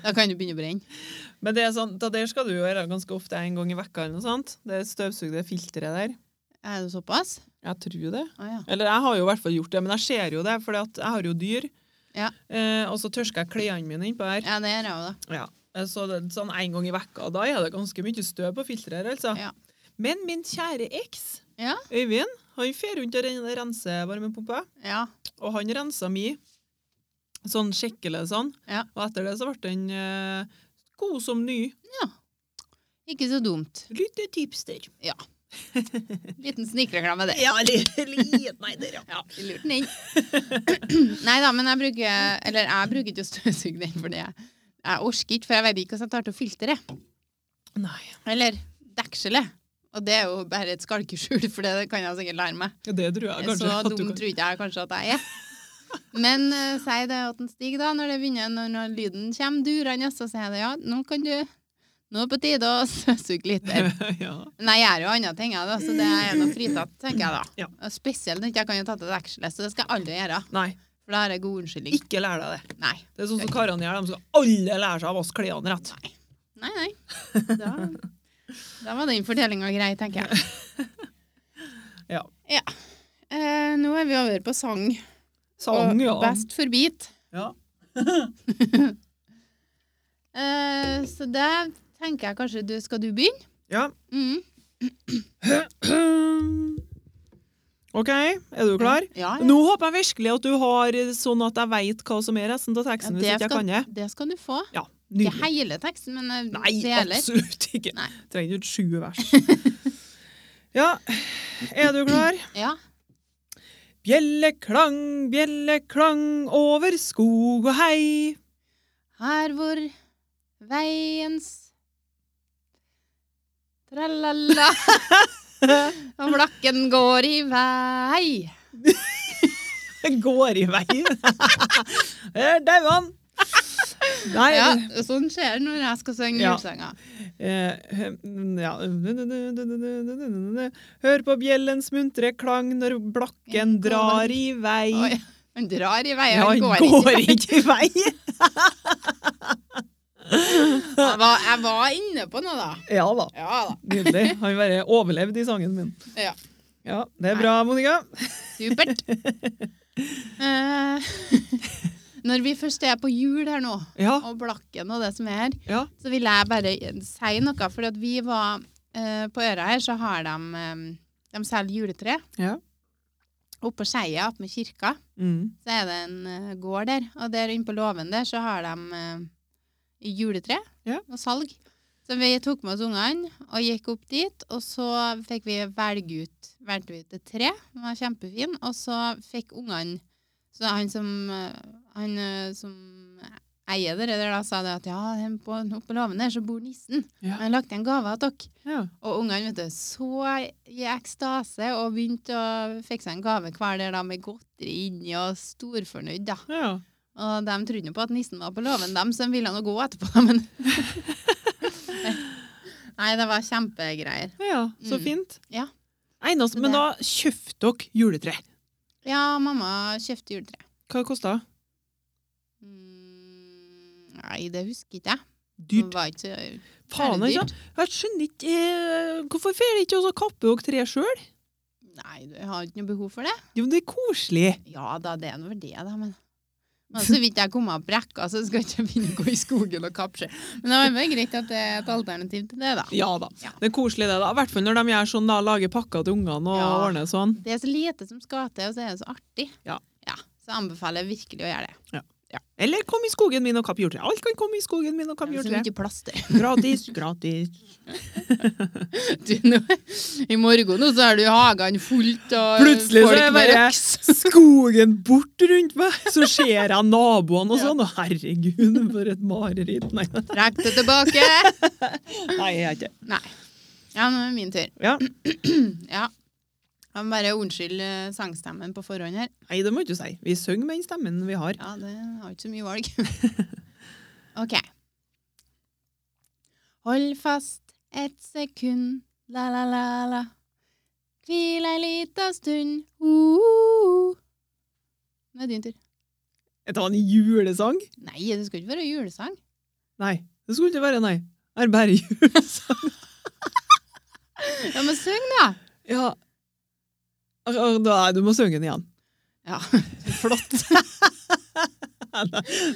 Da kan du begynne å brenne.
Men det er sånn, da der skal du gjøre ganske ofte en gang i vekka eller noe sånt. Det støvsugde filteret der.
Er det såpass?
Jeg tror det.
Å ja.
Eller jeg har jo i hvert fall gjort det, men jeg ser jo det, for jeg har jo dyr.
Ja.
Eh, og så tørsker jeg klærne mine innpå her.
ja, det gjør jeg òg, da.
Ja. Eh, Så det, er sånn en gang i vekka, og da er det ganske mye støv på filteret her, altså.
Ja.
Men min kjære eks,
Ja.
Øyvind, han fer rundt og ren- renser varmepumpa,
Ja.
og han rensa mi sånn skikkelig sånn.
Ja.
Og etter det så ble den eh, god som ny.
Ikke så dumt.
Litt tipster.
Ja. Liten snikreklame, det.
Ja, liten Nei, der, ja.
Vi lurte den inn. Nei da, men jeg bruker Eller jeg bruker ikke å støvsuge den, for det jeg, jeg orker ikke, for jeg vet ikke hvordan jeg tar til filteret.
Nei.
Eller dekselet. Og det er jo bare et skalkeskjul, for det kan jeg sikkert lære meg.
Ja, det tror jeg kanskje.
så
at du
dum
kan-
tror ikke jeg kanskje at jeg er. Men uh, si det til en Stig, da, når det begynner, når, når lyden kommer durende, så sier jeg det, ja, nå kan du Nå er det på tide å støvsuge litt. der.
ja.
Men jeg gjør jo andre ting, jeg, da, så det er noe fritatt, tenker jeg da.
Ja.
Og Spesielt når jeg ikke kan jo ta til dekselet, så det skal jeg aldri gjøre.
Nei,
For da har jeg god unnskyldning.
ikke lær deg det.
Nei.
Det er sånn som karene gjør, de skal alle lære seg å vaske klærne rett.
Nei, nei. Da, da var den fordelinga grei, tenker jeg.
Ja.
Eh, nå er vi over på sang.
Sang, ja.
og best for bit.
ja.
Eh, så det tenker jeg kanskje du Skal du begynne?
Ja.
Mm.
OK, er du klar?
Ja, ja.
Nå håper jeg virkelig at du har eh, sånn at jeg veit hva som er resten av
Ja,
teksten, hvis
det,
ikke jeg
skal,
kan det.
det skal du få.
Ja,
Ikke
nydelig.
hele teksten, men eh,
Nei,
deler.
absolutt ikke.
Nei.
Trenger ikke sju vers. Ja, er du klar?
Ja.
Bjelleklang, bjelleklang over skog og hei.
Her hvor veiens Tralala Og blakken går i vei.
Går i veien. Der daua han. Nei
Ja, sånn skjer det når jeg skal synge
Ja.
julesanger.
Eh, ja. Hør på bjellens muntre klang når blakken
Den går.
drar i vei.
Oi, Han drar i vei,
Ja,
han
han
går ikke.
går ikke i vei.
Jeg var, jeg var inne på noe, da.
Ja da.
Ja da.
Nydelig. Han bare overlevde i sangen min.
Ja.
Ja, Det er bra, Monica.
Supert. Eh, når vi først er på jul her nå,
Ja,
og Blakken og det som er her,
ja.
så vil jeg bare si noe. For at vi var eh, på Øra her, så har de um, De selger juletre.
Ja.
Oppe på Skeia, oppe med kirka,
Mm.
så er det en eh, gård der. Og der inne på låven der så har de eh, juletre
Ja.
og salg. Så vi tok med oss ungene og gikk opp dit, og så fikk vi velge ut valgte vi ut et tre. Den var kjempefin. Og så fikk ungene Så han som, eh, han, eh, som eier det der, da, sa det at ja, den på, oppe på låven der så bor nissen.
Ja.
Men jeg lagde en gave til dere.
ja.
Og ungene vet du, så i ekstase og begynte å fikse en gave hver der da, med godteri inni og storfornøyd. da.
ja.
Og de trodde jo på at nissen var på låven, dem som ville nå gå etterpå. da, Men Nei, det var kjempegreier.
ja. Så
Mm.
fint.
Ja.
Nei, nå-
Så
men
det-
da kjøpte dere juletre.
Ja, mamma kjøpte juletre.
Hva kosta det?
Mm, nei, det husker ikke jeg. Det
Dyrt.
var ikke så
Faen,
veldig
altså.
dyrt.
Jeg skjønner ikke eh, Hvorfor får dere ikke også kappe dere tre sjøl?
Nei, du har ikke noe behov for det.
Jo, men det er koselig.
Ja da, det er noe for det, da, men men så vidt jeg kom av brekka, så skal jeg ikke begynne å gå i skogen og kapse. Men det var bare greit at det er et alternativ til det, da.
Ja da.
Ja.
Det er koselig, det. da. I hvert fall når de gjør sånn, da, lager pakker til ungene og
Ja.
ordner sånn.
Det er så lite som skal til, og så er det så artig.
Ja.
så jeg anbefaler virkelig å gjøre det.
Eller kom i skogen min og kapp juletre. Alt kan komme i skogen min og
Det
kapp
er så
juletre.
mye plass til.
Gratis, gratis.
Du, nå- I morgen nå så har du hagene fullt og
Plutselig så
folk
er
med
bare
røks.
skogen bort rundt meg, så ser jeg naboene og sånn. Og herregud, for et mareritt. Nei,
Trekk det tilbake!
nei jeg er ikke
Nei. Ja, nå er det min tur.
Ja.
Ja. Jeg må bare unnskylde eh, sangstemmen på forhånd her.
Nei, det må du ikke si. Vi synger med den stemmen vi har.
Ja, det har ikke så mye valg. OK. Hold fast et sekund, la-la-la-la. Hvil ei lita stund, uh-uh. Nå er det din tur.
Det var en julesang?
Nei, det skal ikke være julesang.
Nei, det skulle ikke være, nei. Det er bare julesang.
Ja, men syng, da!
Ja. Å, å, Nei, du må synge den igjen.
Ja.
Flott.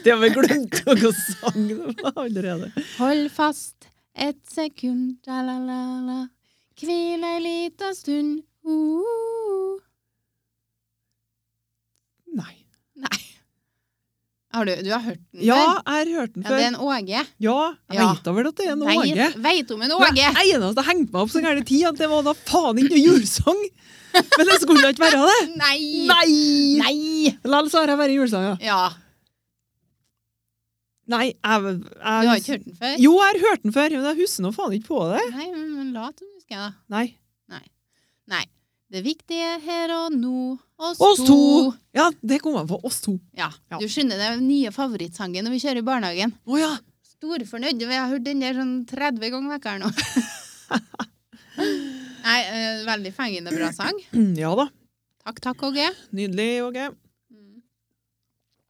Det har vi glemt noe sang allerede.
Hold fast et sekund, la-la-la-la. Hvil ei lita stund, Uh, uh-uh.
Nei.
Nei. Har du, du har hørt den
Ja,
før?
jeg har hørt den
Ja, det
før.
er en Åge.
Ja, jeg
Ja.
vet da vel at det er en Åge.
Veit- Veit om en
Men Det
Åge!
eneste jeg hengte meg opp så gærent tid, at det var da faen ikke noe julesang! Men det skulle da ikke være det!
Nei!
Nei!
Nei!
Likevel så har jeg bare julesanger.
Ja.
Nei, jeg,
Du har
jeg
ikke hørt den før?
Jo, jeg har hørt den før, men jeg husker nå faen ikke på det.
Nei, men men lat som du husker, jeg, da.
Nei.
Nei. Det viktige er her og nå, oss,
Oss to!
to.
Ja, det kom an på. Oss to.
Ja.
Ja.
Du skjønner det er den nye favorittsangen når vi kjører i barnehagen.
Å ja.
Storfornøyd. Jeg har hørt den der sånn 30 ganger vekk her nå. Nei, eh, veldig fengende bra sang.
Ja da.
Takk, takk, Åge.
Nydelig, Åge.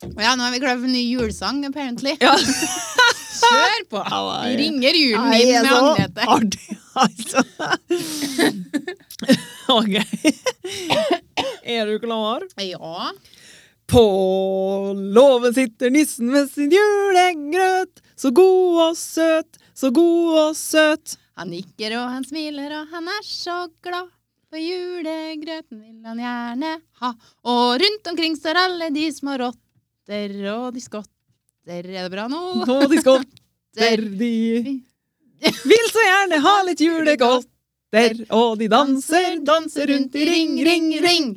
Og Ja, nå er vi klare for en ny julesang, apparently.
Ja.
Kjør på! Vi ringer julen inn med Agnete.
Artig, altså. OK. Er du klar?
Ja.
På låven sitter nissen med sin julegrøt. Så god og søt, så god og søt.
Han nikker og han smiler og han er så glad. For julegrøten vil han gjerne ha. Og rundt omkring står alle de små rotter og de skotter. Er det bra nå?
Nå de skotter de vil så gjerne ha litt julegodter. Og de danser, danser rundt i ring, ring, ring.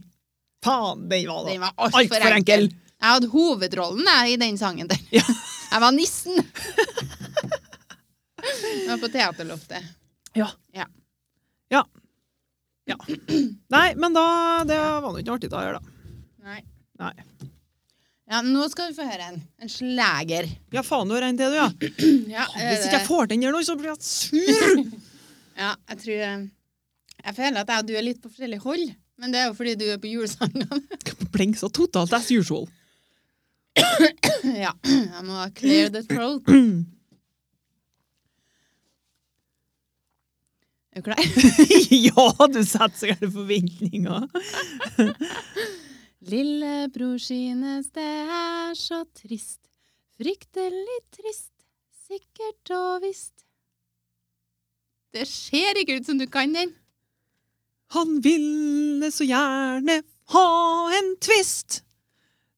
Faen, den var
Den
da
var altfor
altfor
enkel.
enkel.
Jeg hadde hovedrollen jeg, i den sangen der.
Ja.
Jeg var nissen. Jeg var på teaterloftet.
Nei, men da Det var nå ikke noe artig å gjøre, da.
Nei.
Nei.
Ja, nå skal du få høre en. En slager.
Ja, faen, du har en til, du, ja.
Ja,
Hvis ikke jeg får til den her nå, så blir jeg sur!
ja, jeg tror eh, Jeg føler at jeg og du er litt på forskjellig hold. Men det er jo fordi du er på julesangene.
Blink så totalt as usual.
ja. Jeg må clear the throat. Er du klar?
ja, du setter så gærne forventninger.
Lillebror synes det er så trist, fryktelig trist, sikkert og visst. Det ser ikke ut som du kan den.
Han ville så gjerne ha en twist.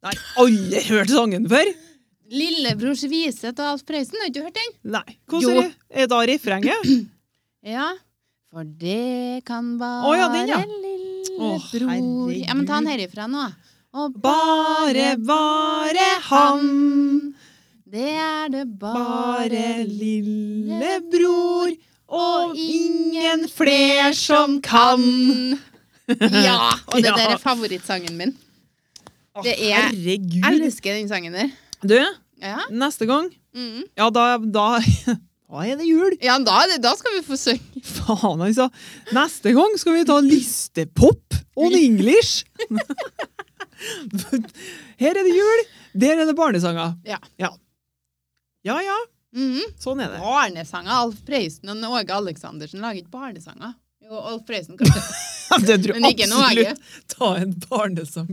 Nei, aldri hørt sangen før.
Lillebrors vise til Alf Prøysen, har du ikke hørt den?
Nei.
Jo.
Hvordan er, er da refrenget?
Ja. For det kan bare
Å, ja, den, ja. Å,
lillebror
herregud.
Ja, men ta den herifra nå. Og
Bare, bare han,
det er det
bare
bare
lillebror, og ingen fler som kan.
Ja! Og det
Ja.
der er favorittsangen min.
Å,
Det er-
Herregud.
Elsker den sangen der.
Du,
Ja,
neste gang
mm.
Ja, da, da, da er det jul.
ja da, er det- da skal vi få synge.
Faen, altså. Neste gang skal vi ta listepop on English. Her er det jul, der er det barnesanger.
Ja.
Ja ja, ja,
Mm.
sånn er det.
Barnesanger. Alf Prøysen og Åge Aleksandersen lager ikke barnesanger. Jo, Alf Prøysen kanskje,
Det tror
men
jeg
ikke noe Åge.
absolutt. Ta en barnesang.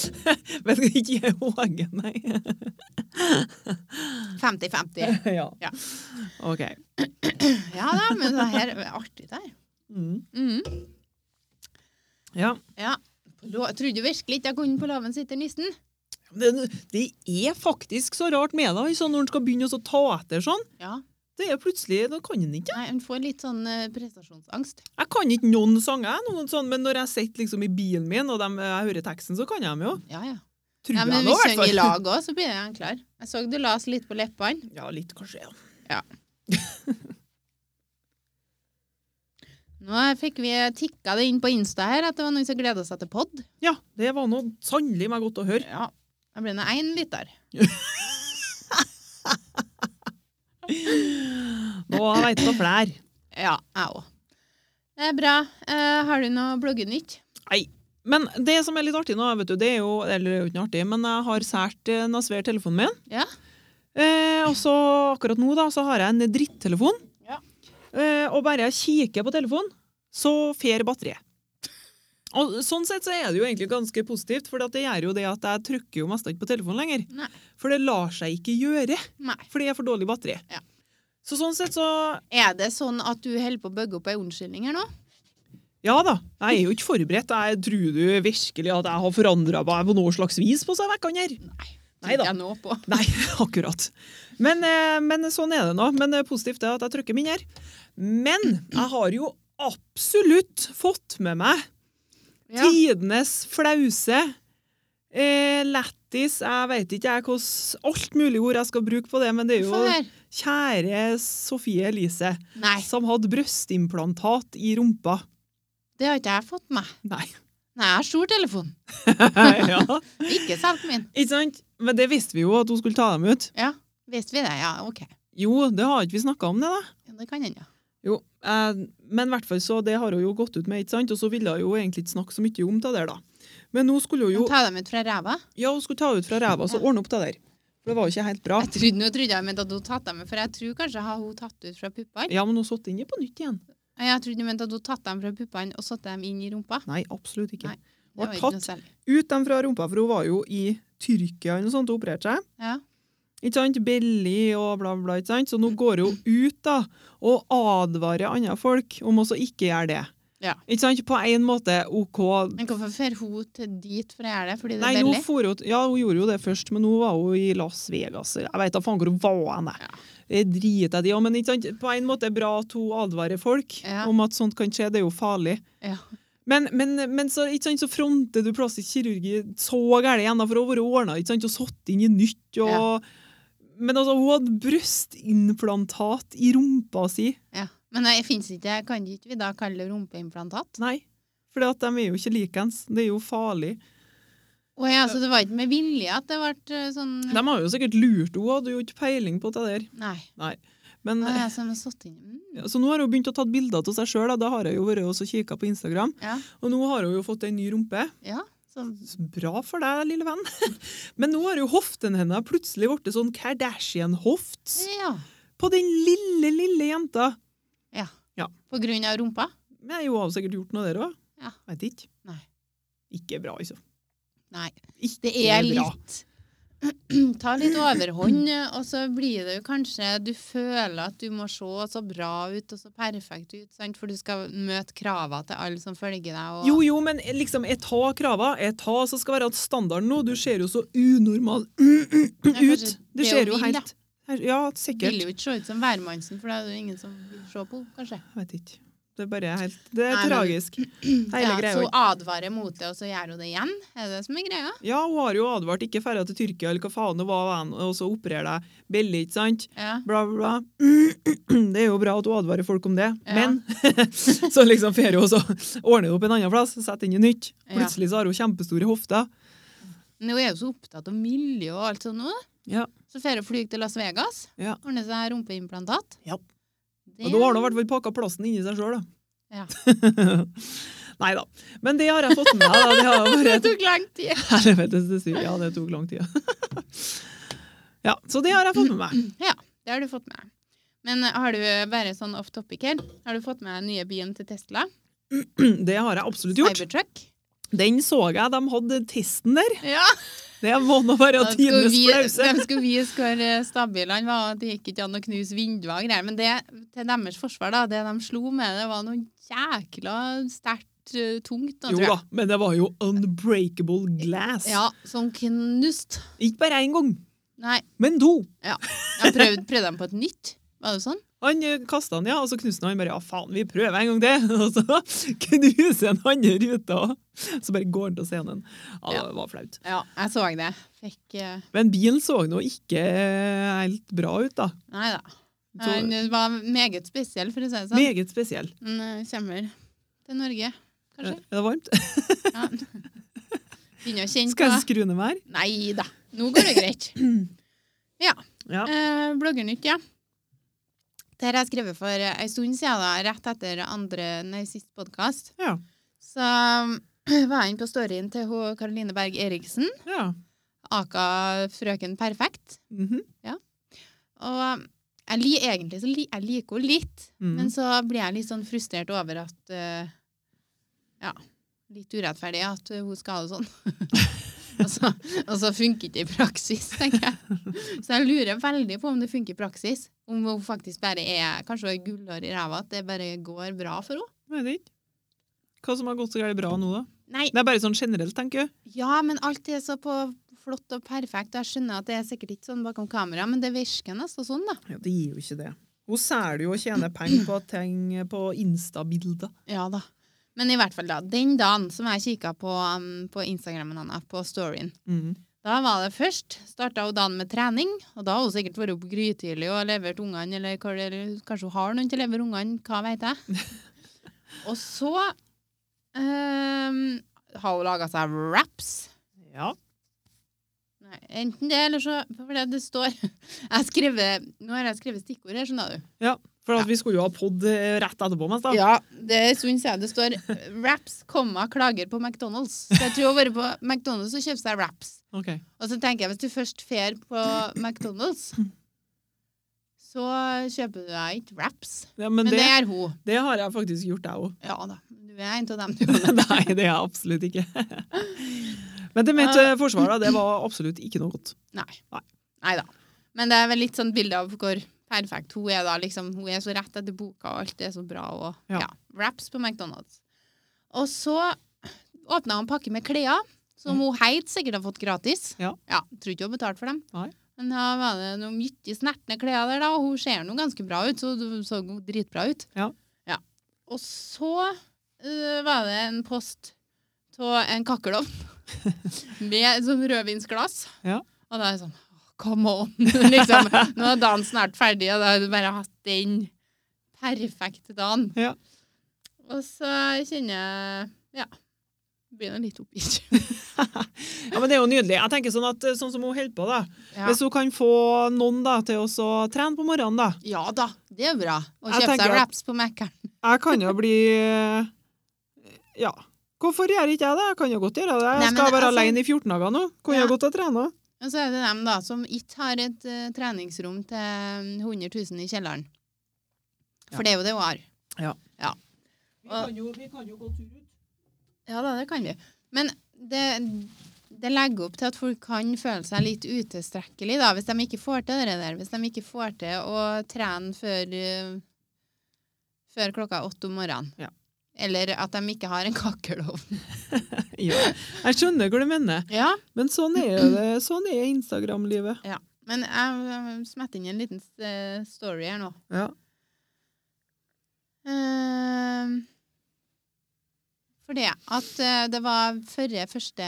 Vet du, ikke Åge, nei.
50-50.
Ja.
Ja.
OK.
Ja da, men det her er artig der.
Mm.
Mm.
Ja.
Ja. På lå- Jeg trodde virkelig ikke jeg kunne på låven sitter nissen.
Det, det er faktisk så rart med deg sånn når en skal begynne å ta etter sånn.
Ja.
Det er plutselig, Da kan en ikke.
Nei, hun får litt sånn eh, prestasjonsangst.
Jeg kan ikke noen sanger, jeg, noen sånn, men når jeg sitter liksom i bilen min og dem- jeg hører teksten, så kan jeg dem jo.
Ja, ja.
Tror
ja
jeg
men vi
nå, i hvert
synger i
fall.
lag òg, så blir han klar. Jeg så du la oss litt på leppene.
Ja, litt kanskje, ja.
Nå fikk vi tikka det inn på Insta her at det var noen som gleda seg til pod.
Ja, det var noe sannelig meg godt å høre.
Ja. Da ble det én lytter.
Nå veit jeg flere.
Ja, jeg òg. Det er bra. Eh, har du noe bloggenytt?
Men det som er litt artig nå, vet du, det er jo, eller det er jo ikke noe artig, men jeg har sært eh, Nasver telefonen min.
Ja.
Eh, og så akkurat nå da, så har jeg en drittelefon.
Ja.
Eh, og bare jeg kikker på telefonen, så fer batteriet. Og sånn sett så er det jo egentlig ganske positivt, for det gjør jo det at jeg trykker jo mest ikke på telefonen lenger.
Nei.
For det lar seg ikke gjøre,
Nei.
for det er for dårlig batteri.
Ja.
Så sånn sett så,
Er det sånn at du holder på å bygge opp ei unnskyldning her nå?
ja da, jeg er jo ikke forberedt. Jeg tror du virkelig at jeg har forandret meg på noe slags vis på seg vekkene her.
Nei.
Nei da.
Tenkte jeg nå på.
Nei, akkurat. Men, eh, men sånn er det nå. Men det er positivt det at jeg trykker min her. Men jeg har jo absolutt fått med meg
Ja.
tidenes flause. Eh, lættis, jeg vet ikke jeg hvordan alt mulig ord jeg skal bruke på det, men det er jo
Få høre.
kjære Sofie Elise,
Nei,
som hadde brøstimplantat i rumpa.
det har ikke jeg fått med meg.
Nei.
Nei, jeg har stor telefon.
ja.
Ikke solgt min.
Ikke sant? Men det visste vi jo at hun skulle ta dem ut.
Ja, visste vi det? Ja, OK.
Jo, det har ikke vi snakka om det, da.
Ja, Det kan hende. ja.
Jo, eh, men i hvert fall så det har hun jo gått ut med, ikke sant? Og så ville hun jo egentlig ikke snakke så mye om det der, da. Men nå skulle hun jo
Men Ta dem ut fra ræva?
Ja, hun skulle ta ut fra ræva, så ordne opp det der. For det var jo ikke helt bra.
Jeg trodde, nå trodde jeg mente at hun tatt dem ut, for jeg tror kanskje har hun tatt ut fra puppene.
Ja, men hun satt inni på nytt igjen.
Nei, Jeg trodde hun mente at hun tatt dem fra puppene og satt dem inn i rumpa.
Nei, absolutt ikke.
Nei. Det
Hun
var
har
ikke noe
tatt
særlig.
ut dem fra rumpa, for hun var jo i Tyrkia eller noe sånt og opererte seg.
Ja.
Ikke sant? Belly og bla, bla, bla. ikke sant? Så nå går hun ut da, og advarer andre folk om også ikke gjøre det.
Ja.
Ikke sant? På en måte, OK.
Men hvorfor fer hun til dit for å gjøre det? Fordi det
Nei,
er
nå
billig?
for hun, ja, hun gjorde jo det først, men nå var hun i Las Vegas. Jeg vet da faen hvor hun var henne.
Ja.
Det driter jeg i. Ja, men ikke sant? på en måte er det bra at hun advarer folk
Ja.
om at sånt kan skje. Det er jo farlig.
Ja.
Men, men, men så, ikke sant, så fronter du plastisk kirurgi så gærent igjen, da, for hun har vært ordna ikke sant, og satt inn i nytt. Og, Men altså, hun hadde brystimplantat i rumpa si.
Ja. Men nei, finnes ikke, kan ikke vi da kalle det rumpeimplantat?
Nei, for de er jo ikke likens. Det er jo farlig.
Å ja, så altså, det var ikke med vilje at det ble sånn
De har jo sikkert lurt henne, hun hadde jo ikke peiling på det der.
Nei.
Men,
Å, jeg som har satt inn mm.
Så nå har hun begynt å ta bilder av seg sjøl. Da. da har jeg jo vært og kikka på Instagram.
Ja.
Og nå har hun jo fått ei ny rumpe.
ja. Så,
Så Bra for deg, lille venn. Men nå har jo hoften hennes plutselig blitt sånn Kardashian-hoft
ja.
på den lille, lille jenta.
På grunn av rumpa?
Men hun har jo sikkert gjort noe der òg.
Ja.
Veit ikke.
Nei.
Ikke bra, altså.
Nei.
Ikke
Det er
bra.
litt Ta litt overhånd, og så blir det jo kanskje Du føler at du må se så bra ut og så perfekt ut, sant? for du skal møte kravene til alle som følger deg. Og,
Jo, jo, men liksom, jeg tar krava. Jeg tar som skal være at standarden nå. Du ser jo så unormal ut.
kanskje
Du
det
ser
hun
jo
vil, da.
helt Ja, sikkert.
vil jo ikke se ut som værmannsen, for da er det jo ingen som vil se på henne, kanskje.
Jeg vet ikke. Det er bare helt Det er
Nei, men-
tragisk. Hele
Ja,
greia.
så advarer mot det, og så gjør hun det igjen? Er det det som er greia?
Ja, hun har jo advart ikke ferda til Tyrkia eller hva faen det var, og så opererer deg Belly, ikke sant?
Ja.
Bla, bla, bla. Det er jo bra at hun advarer folk om det,
Ja.
men så liksom fer hun og så ordner hun opp en annen plass, setter inn i nytt.
Ja.
Plutselig så har hun kjempestore hofter.
Men hun er jo så opptatt av miljø og alt sånt nå.
Ja.
Så drar hun fly til Las Vegas,
Ja.
ordner seg rumpeimplantat.
Ja.
Det,
Og da har hun i hvert fall pakka plassen inni seg sjøl, da.
Ja.
Nei da. Men det har jeg fått med meg. da. Det har vært
det tok lang tid!
helvetes styr. Ja, det tok lang tid. Ja, så det har jeg fått med meg.
Det har du fått med. Men eh, har du bare sånn off topic her, har du fått med den nye bilen til Tesla?
Det har jeg absolutt gjort.
Cybertruck?
Den så jeg de hadde testen der.
Ja!
Det må nå være
Da skulle
tidenes
vi-
flause.
De skulle vise hvor eh, stabile han var, og det gikk ikke an å knuse vinduer og greier. Men det, til deres forsvar, da, det de slo med, det var noe jækla sterkt eh, tungt. Da,
Jo
tror jeg.
da, men det var jo unbreakable glass.
Ja, som knust.
Ikke bare én gang,
Nei,
men to.
jeg prøvde, prøvde dem på et nytt. Var det sånn?
Han kasta den, ja, og så knuste han. Han bare ja, faen, vi prøver en gang til. Og så knuser han andre ruta. Så bare går han til scenen. Ja,
Ja.
det var flaut.
Ja, jeg så det. Fikk eh,
Men bilen så nå ikke eh, helt bra ut, da.
Nei da.
Så,
Han eh, var meget spesiell, for å si det sånn.
meget spesiell.
Han eh, kommer til Norge,
Er
kanskje.
det varmt?
Ja. Begynner å kjenne
Skal jeg
på
skru ned mer?
Nei da, nå går det greit.
Ja.
Eh, Bloggernytt, ja. Det her har jeg skrevet for eh, en stund siden, da, rett etter andre, nei, sist podkast.
Ja.
Så um, var jeg inne på storyen til hun Karoline Berg Eriksen,
ja.
aka Frøken Perfekt.
Mhm.
Og um, jeg, li, egentlig så li, jeg liker henne litt,
Mhm.
men så blir jeg litt sånn frustrert over at eh, Ja, litt urettferdig at hun skal ha det sånn. og, så, og så funker ikke det i praksis, tenker jeg. Så jeg lurer veldig på om det funker i praksis. Om hun faktisk bare er Kanskje hun har gullhår i ræva, at det bare går bra for henne?
Vet ikke. Hva som har gått så gærent bra nå, da?
Nei,
Det er bare sånn generelt, tenker jeg.
ja, men alt er så på flott og perfekt. og Jeg skjønner at det er sikkert ikke sånn bakom kamera, men det virker nesten sånn, da.
Ja, det gir jo ikke det. Hun selger jo og tjener penger på ting på Insta-bilder.
Ja da. Men i hvert fall, da. Den dagen som jeg kikka på, um, på Instagrammen hennes, på storyen,
Mm.
da var det først starta hun dagen med trening. Og da har hun sikkert vært opp grytidlig og levert ungene, eller hva det- eller kanskje hun har noen til å levere ungene, hva veit jeg. og så um, har hun laga seg wraps.
Ja.
Nei, enten det, eller så For det, det står jeg skriver, Nå har jeg skrevet stikkord her, skjønner du.
ja. For at vi skulle jo ha pod eh, rett etterpå mest, da.
Ja, Det er en stund siden. Det står 'wraps, komma, klager på McDonald's'. Så jeg tror hun har vært på McDonald's og kjøpt seg wraps.
Ok.
Og så tenker jeg, hvis du først fer på McDonald's, så kjøper du deg ikke wraps.
Ja, men
Men det
det,
gjør hun.
det har jeg faktisk gjort, jeg òg.
Ja da. Du er en av dem, du.
Nei, det er jeg absolutt ikke. Men til mitt eh, forsvar, da, det var absolutt ikke noe godt.
Nei.
Nei.
Nei da. Men det er vel litt sånn bilde av hvor perfekt hun er, da. Liksom, hun er så rett etter boka, og alt er så bra. Og,
Ja.
ja. Wraps på McDonald's. Og så åpna hun en pakke med klær, som hun helt sikkert har fått gratis.
Mm. Ja.
Tror ikke hun har betalt for dem.
Nei.
Men da var det noen mye snertne klær der, da, og hun ser nå ganske bra ut. Så hun så dritbra ut.
Ja.
Og så øh, var det en post av en kakkelovn med et sånn rødvinsglass.
Ja.
Og da er jeg sånn «Åh, Come on! liksom, nå er dagen snart ferdig, og da har du bare hatt den perfekte dagen.
Ja.
Og så kjenner jeg Ja. Blir nå litt oppgitt.
Ja, Men det er jo nydelig. Jeg tenker sånn at eh, sånn som hun holder på, da.
Ja.
Hvis hun kan få noen da, til å så trene på morgenen, da.
ja da, det er bra. Å
Jeg
kjøpe
tenker
seg
at-
wraps på Mækkern.
Jeg kan jo bli eh, Ja. Hvorfor gjør ikke jeg det? Jeg kan jo godt gjøre det. Jeg
Nei, men
skal være
altså-
alene i 14 dager nå. Kunne
Ja.
jeg godt ha trena.
Og så er det dem da, som ikke har et eh, treningsrom til eh, 100 000 i kjelleren. For
Ja.
det er jo det hun har.
Vi
kan
jo, gå tur ut.
Ja da, det kan vi. Men det, det legger opp til at folk kan føle seg litt utilstrekkelig da, hvis de ikke får til det der. Hvis de ikke får til å trene før, eh, før klokka er åtte om morgenen.
Ja.
Eller at de ikke har en kakkelovn.
Ja. Jeg skjønner hva du mener,
Ja,
men sånn er, det, sånn er Instagram-livet.
men jeg eh, smetter inn en liten eh, story her nå.
Ja.
Eh, Fordi at eh, det var førre 1.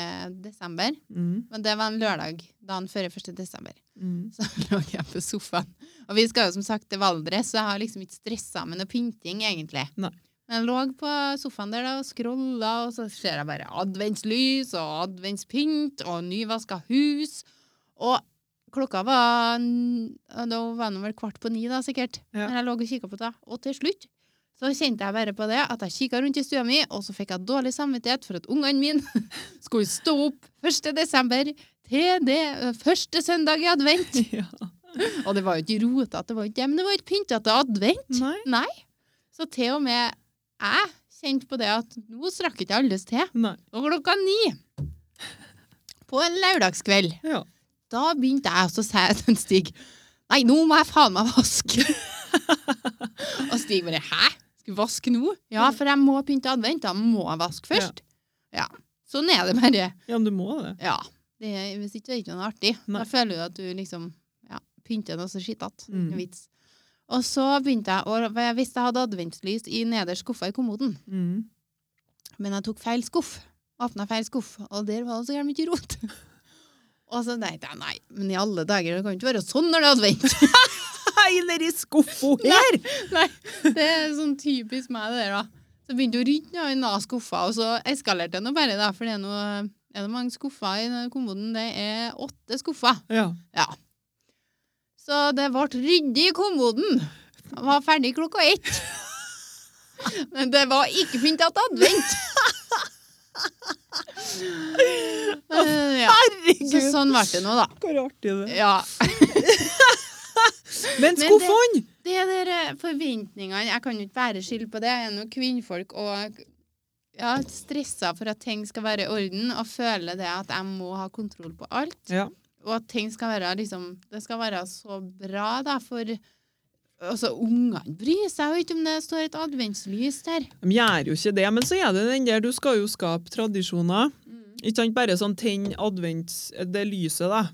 desember,
Mm.
men det var en lørdag dagen førre 1. desember.
Mm.
Så lå jeg på sofaen. Og vi skal jo som sagt til Valdres, så jeg har liksom ikke stressa med noe pynting, egentlig.
Nei.
Men jeg lå på sofaen der da, og scrolla, og så ser jeg bare adventslys og adventspynt og nyvaska hus. Og klokka var n- Da var den vel kvart på ni, da, sikkert.
Ja.
Når jeg lå og kikka på det. Og til slutt så kjente jeg bare på det at jeg kikka rundt i stua mi, og så fikk jeg dårlig samvittighet for at ungene mine skulle stå opp 1. desember til det ø, første søndag i advent.
Ja.
Og det var jo ikke rotete, det var jo ikke det, men det var jo ikke pynta til advent.
Nei.
Så til og med jeg kjente på det at nå strakk ikke alles til.
Nei.
Og klokka ni på en lørdagskveld,
Ja.
da begynte jeg også å si til en Stig Nei, nå må jeg faen meg vaske! og Stig bare Hæ? Skal du vaske nå? Ja, for jeg må pynte advent. Da må jeg vaske først. Ja. Sånn er det bare.
ja, men du må det.
Ja. Det, er- hvis ikke det er ikke noe artig.
Nei.
Da føler du at du liksom ja, pynter noe så skittete.
Mm.
Ingen Vits. Og så begynte jeg å for Jeg visste jeg hadde adventslys i nederst skuffa i kommoden,
Mm.
men jeg tok feil skuff. Åpna feil skuff, og der var det så jævlig mye rot. Og så tenkte jeg nei, men i alle dager, det kan jo ikke være sånn når det er advent.
Hei, nedi skuffa her!
nei, Det er sånn typisk meg, det der, da. Så begynte hun å rydde i den skuffa, og så eskalerte det nå bare, da, for det er noe er det mange skuffer i den kommoden? Det er åtte skuffer.
Ja.
Ja. Så det ble ryddig i kommoden. Jeg var ferdig klokka ett. Men det var ikke fint at advent. Eh, ja.
Herregud!
Så sånn ble det nå, da.
Hvor artig det er.
Ja.
Men
det-
skuffene!
Det der eh, forventningene Jeg kan jo ikke være skyld på det. Jeg er nå kvinnfolk og ja, stressa for at ting skal være i orden, og føler det at jeg må ha kontroll på alt.
Ja.
Og at ting skal være liksom Det skal være så bra, da, for Altså, ungene bryr seg jo ikke om det står et adventslys der. Mm.
De gjør jo ikke det, men så er det den der du skal jo skape tradisjoner. Ikke sant, bare sånn tenn advents... Det lyset, da.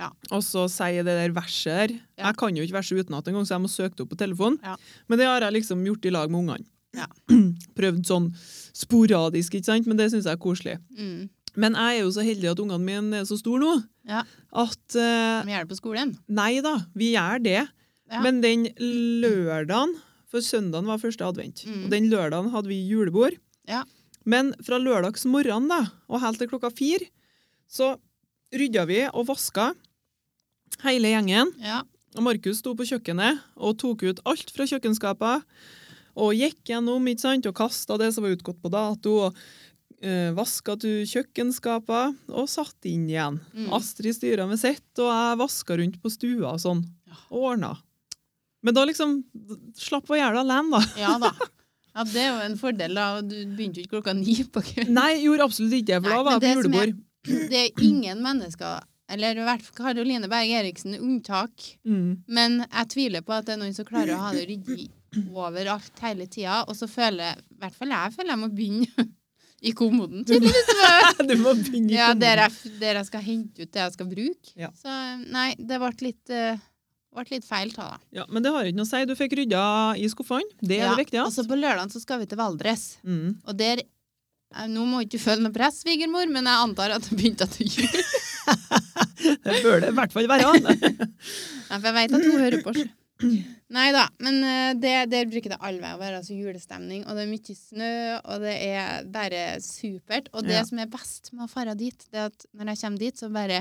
Ja.
Og så sier det der verset der.
Ja.
Jeg kan jo ikke verset utenat engang, så jeg må søke det opp på telefonen.
Ja.
Men det har jeg liksom gjort i lag med ungene.
Ja.
Prøvd sånn sporadisk, ikke sant? men det syns jeg er koselig.
Mm.
Men jeg er jo så heldig at ungene mine er så store nå
Ja.
at eh,
Vi gjør det på skolen.
Nei da, vi gjør det.
Ja.
Men den lørdagen, for søndagen var første advent,
Mm.
og den lørdagen hadde vi julebord.
Ja.
Men fra lørdagsmorgenen da, og helt til klokka fire, så rydda vi og vaska hele gjengen.
Ja.
Og Markus sto på kjøkkenet og tok ut alt fra kjøkkenskapet. Og gikk gjennom ikke sant, og kasta det som var utgått på dato, og eh, vaska til kjøkkenskapet og satt inn igjen.
Mm.
Astrid styra med sitt, og jeg vaska rundt på stua og sånn.
Ja.
Og ordna. Men da liksom Slapp å gjøre det alene, da.
ja da. Ja, Det er jo en fordel, da. Du begynte jo ikke klokka ni på kvelden.
Nei, gjorde absolutt ikke det, for
Nei,
da var
men
jeg på
det som er-
julebord.
Det er ingen mennesker Eller i hvert fall Karoline Berg Eriksen er unntak.
Mm.
Men jeg tviler på at det er noen som klarer å ha det ryddig overalt hele tida. Og så føler jeg, i hvert fall jeg føler jeg må begynne i kommoden, tydeligvis.
Du må begynne i
Ja,
kommunen.
der jeg, der jeg skal hente ut det jeg skal bruke.
Ja.
Så nei, det ble litt, eh, ble litt feil ta, da.
ja, Men det har ikke noe å si. Du fikk rydda i skuffene. Det er
Ja, Altså-
det
Og
viktigste.
så på lørdag så skal vi til Valdres.
Mm.
Og der eh, Nå må ikke du føle noe press, svigermor, men jeg antar at det begynte etter jul.
Det bør det i hvert fall være.
Ja, for jeg vet at hun hører på. Nei da, men eh, det, der bruker det alle veier å være altså julestemning. Og det er mye snø, og det er bare supert. Og det
Ja.
som er best med å fare dit, det er at når jeg kommer dit, så bare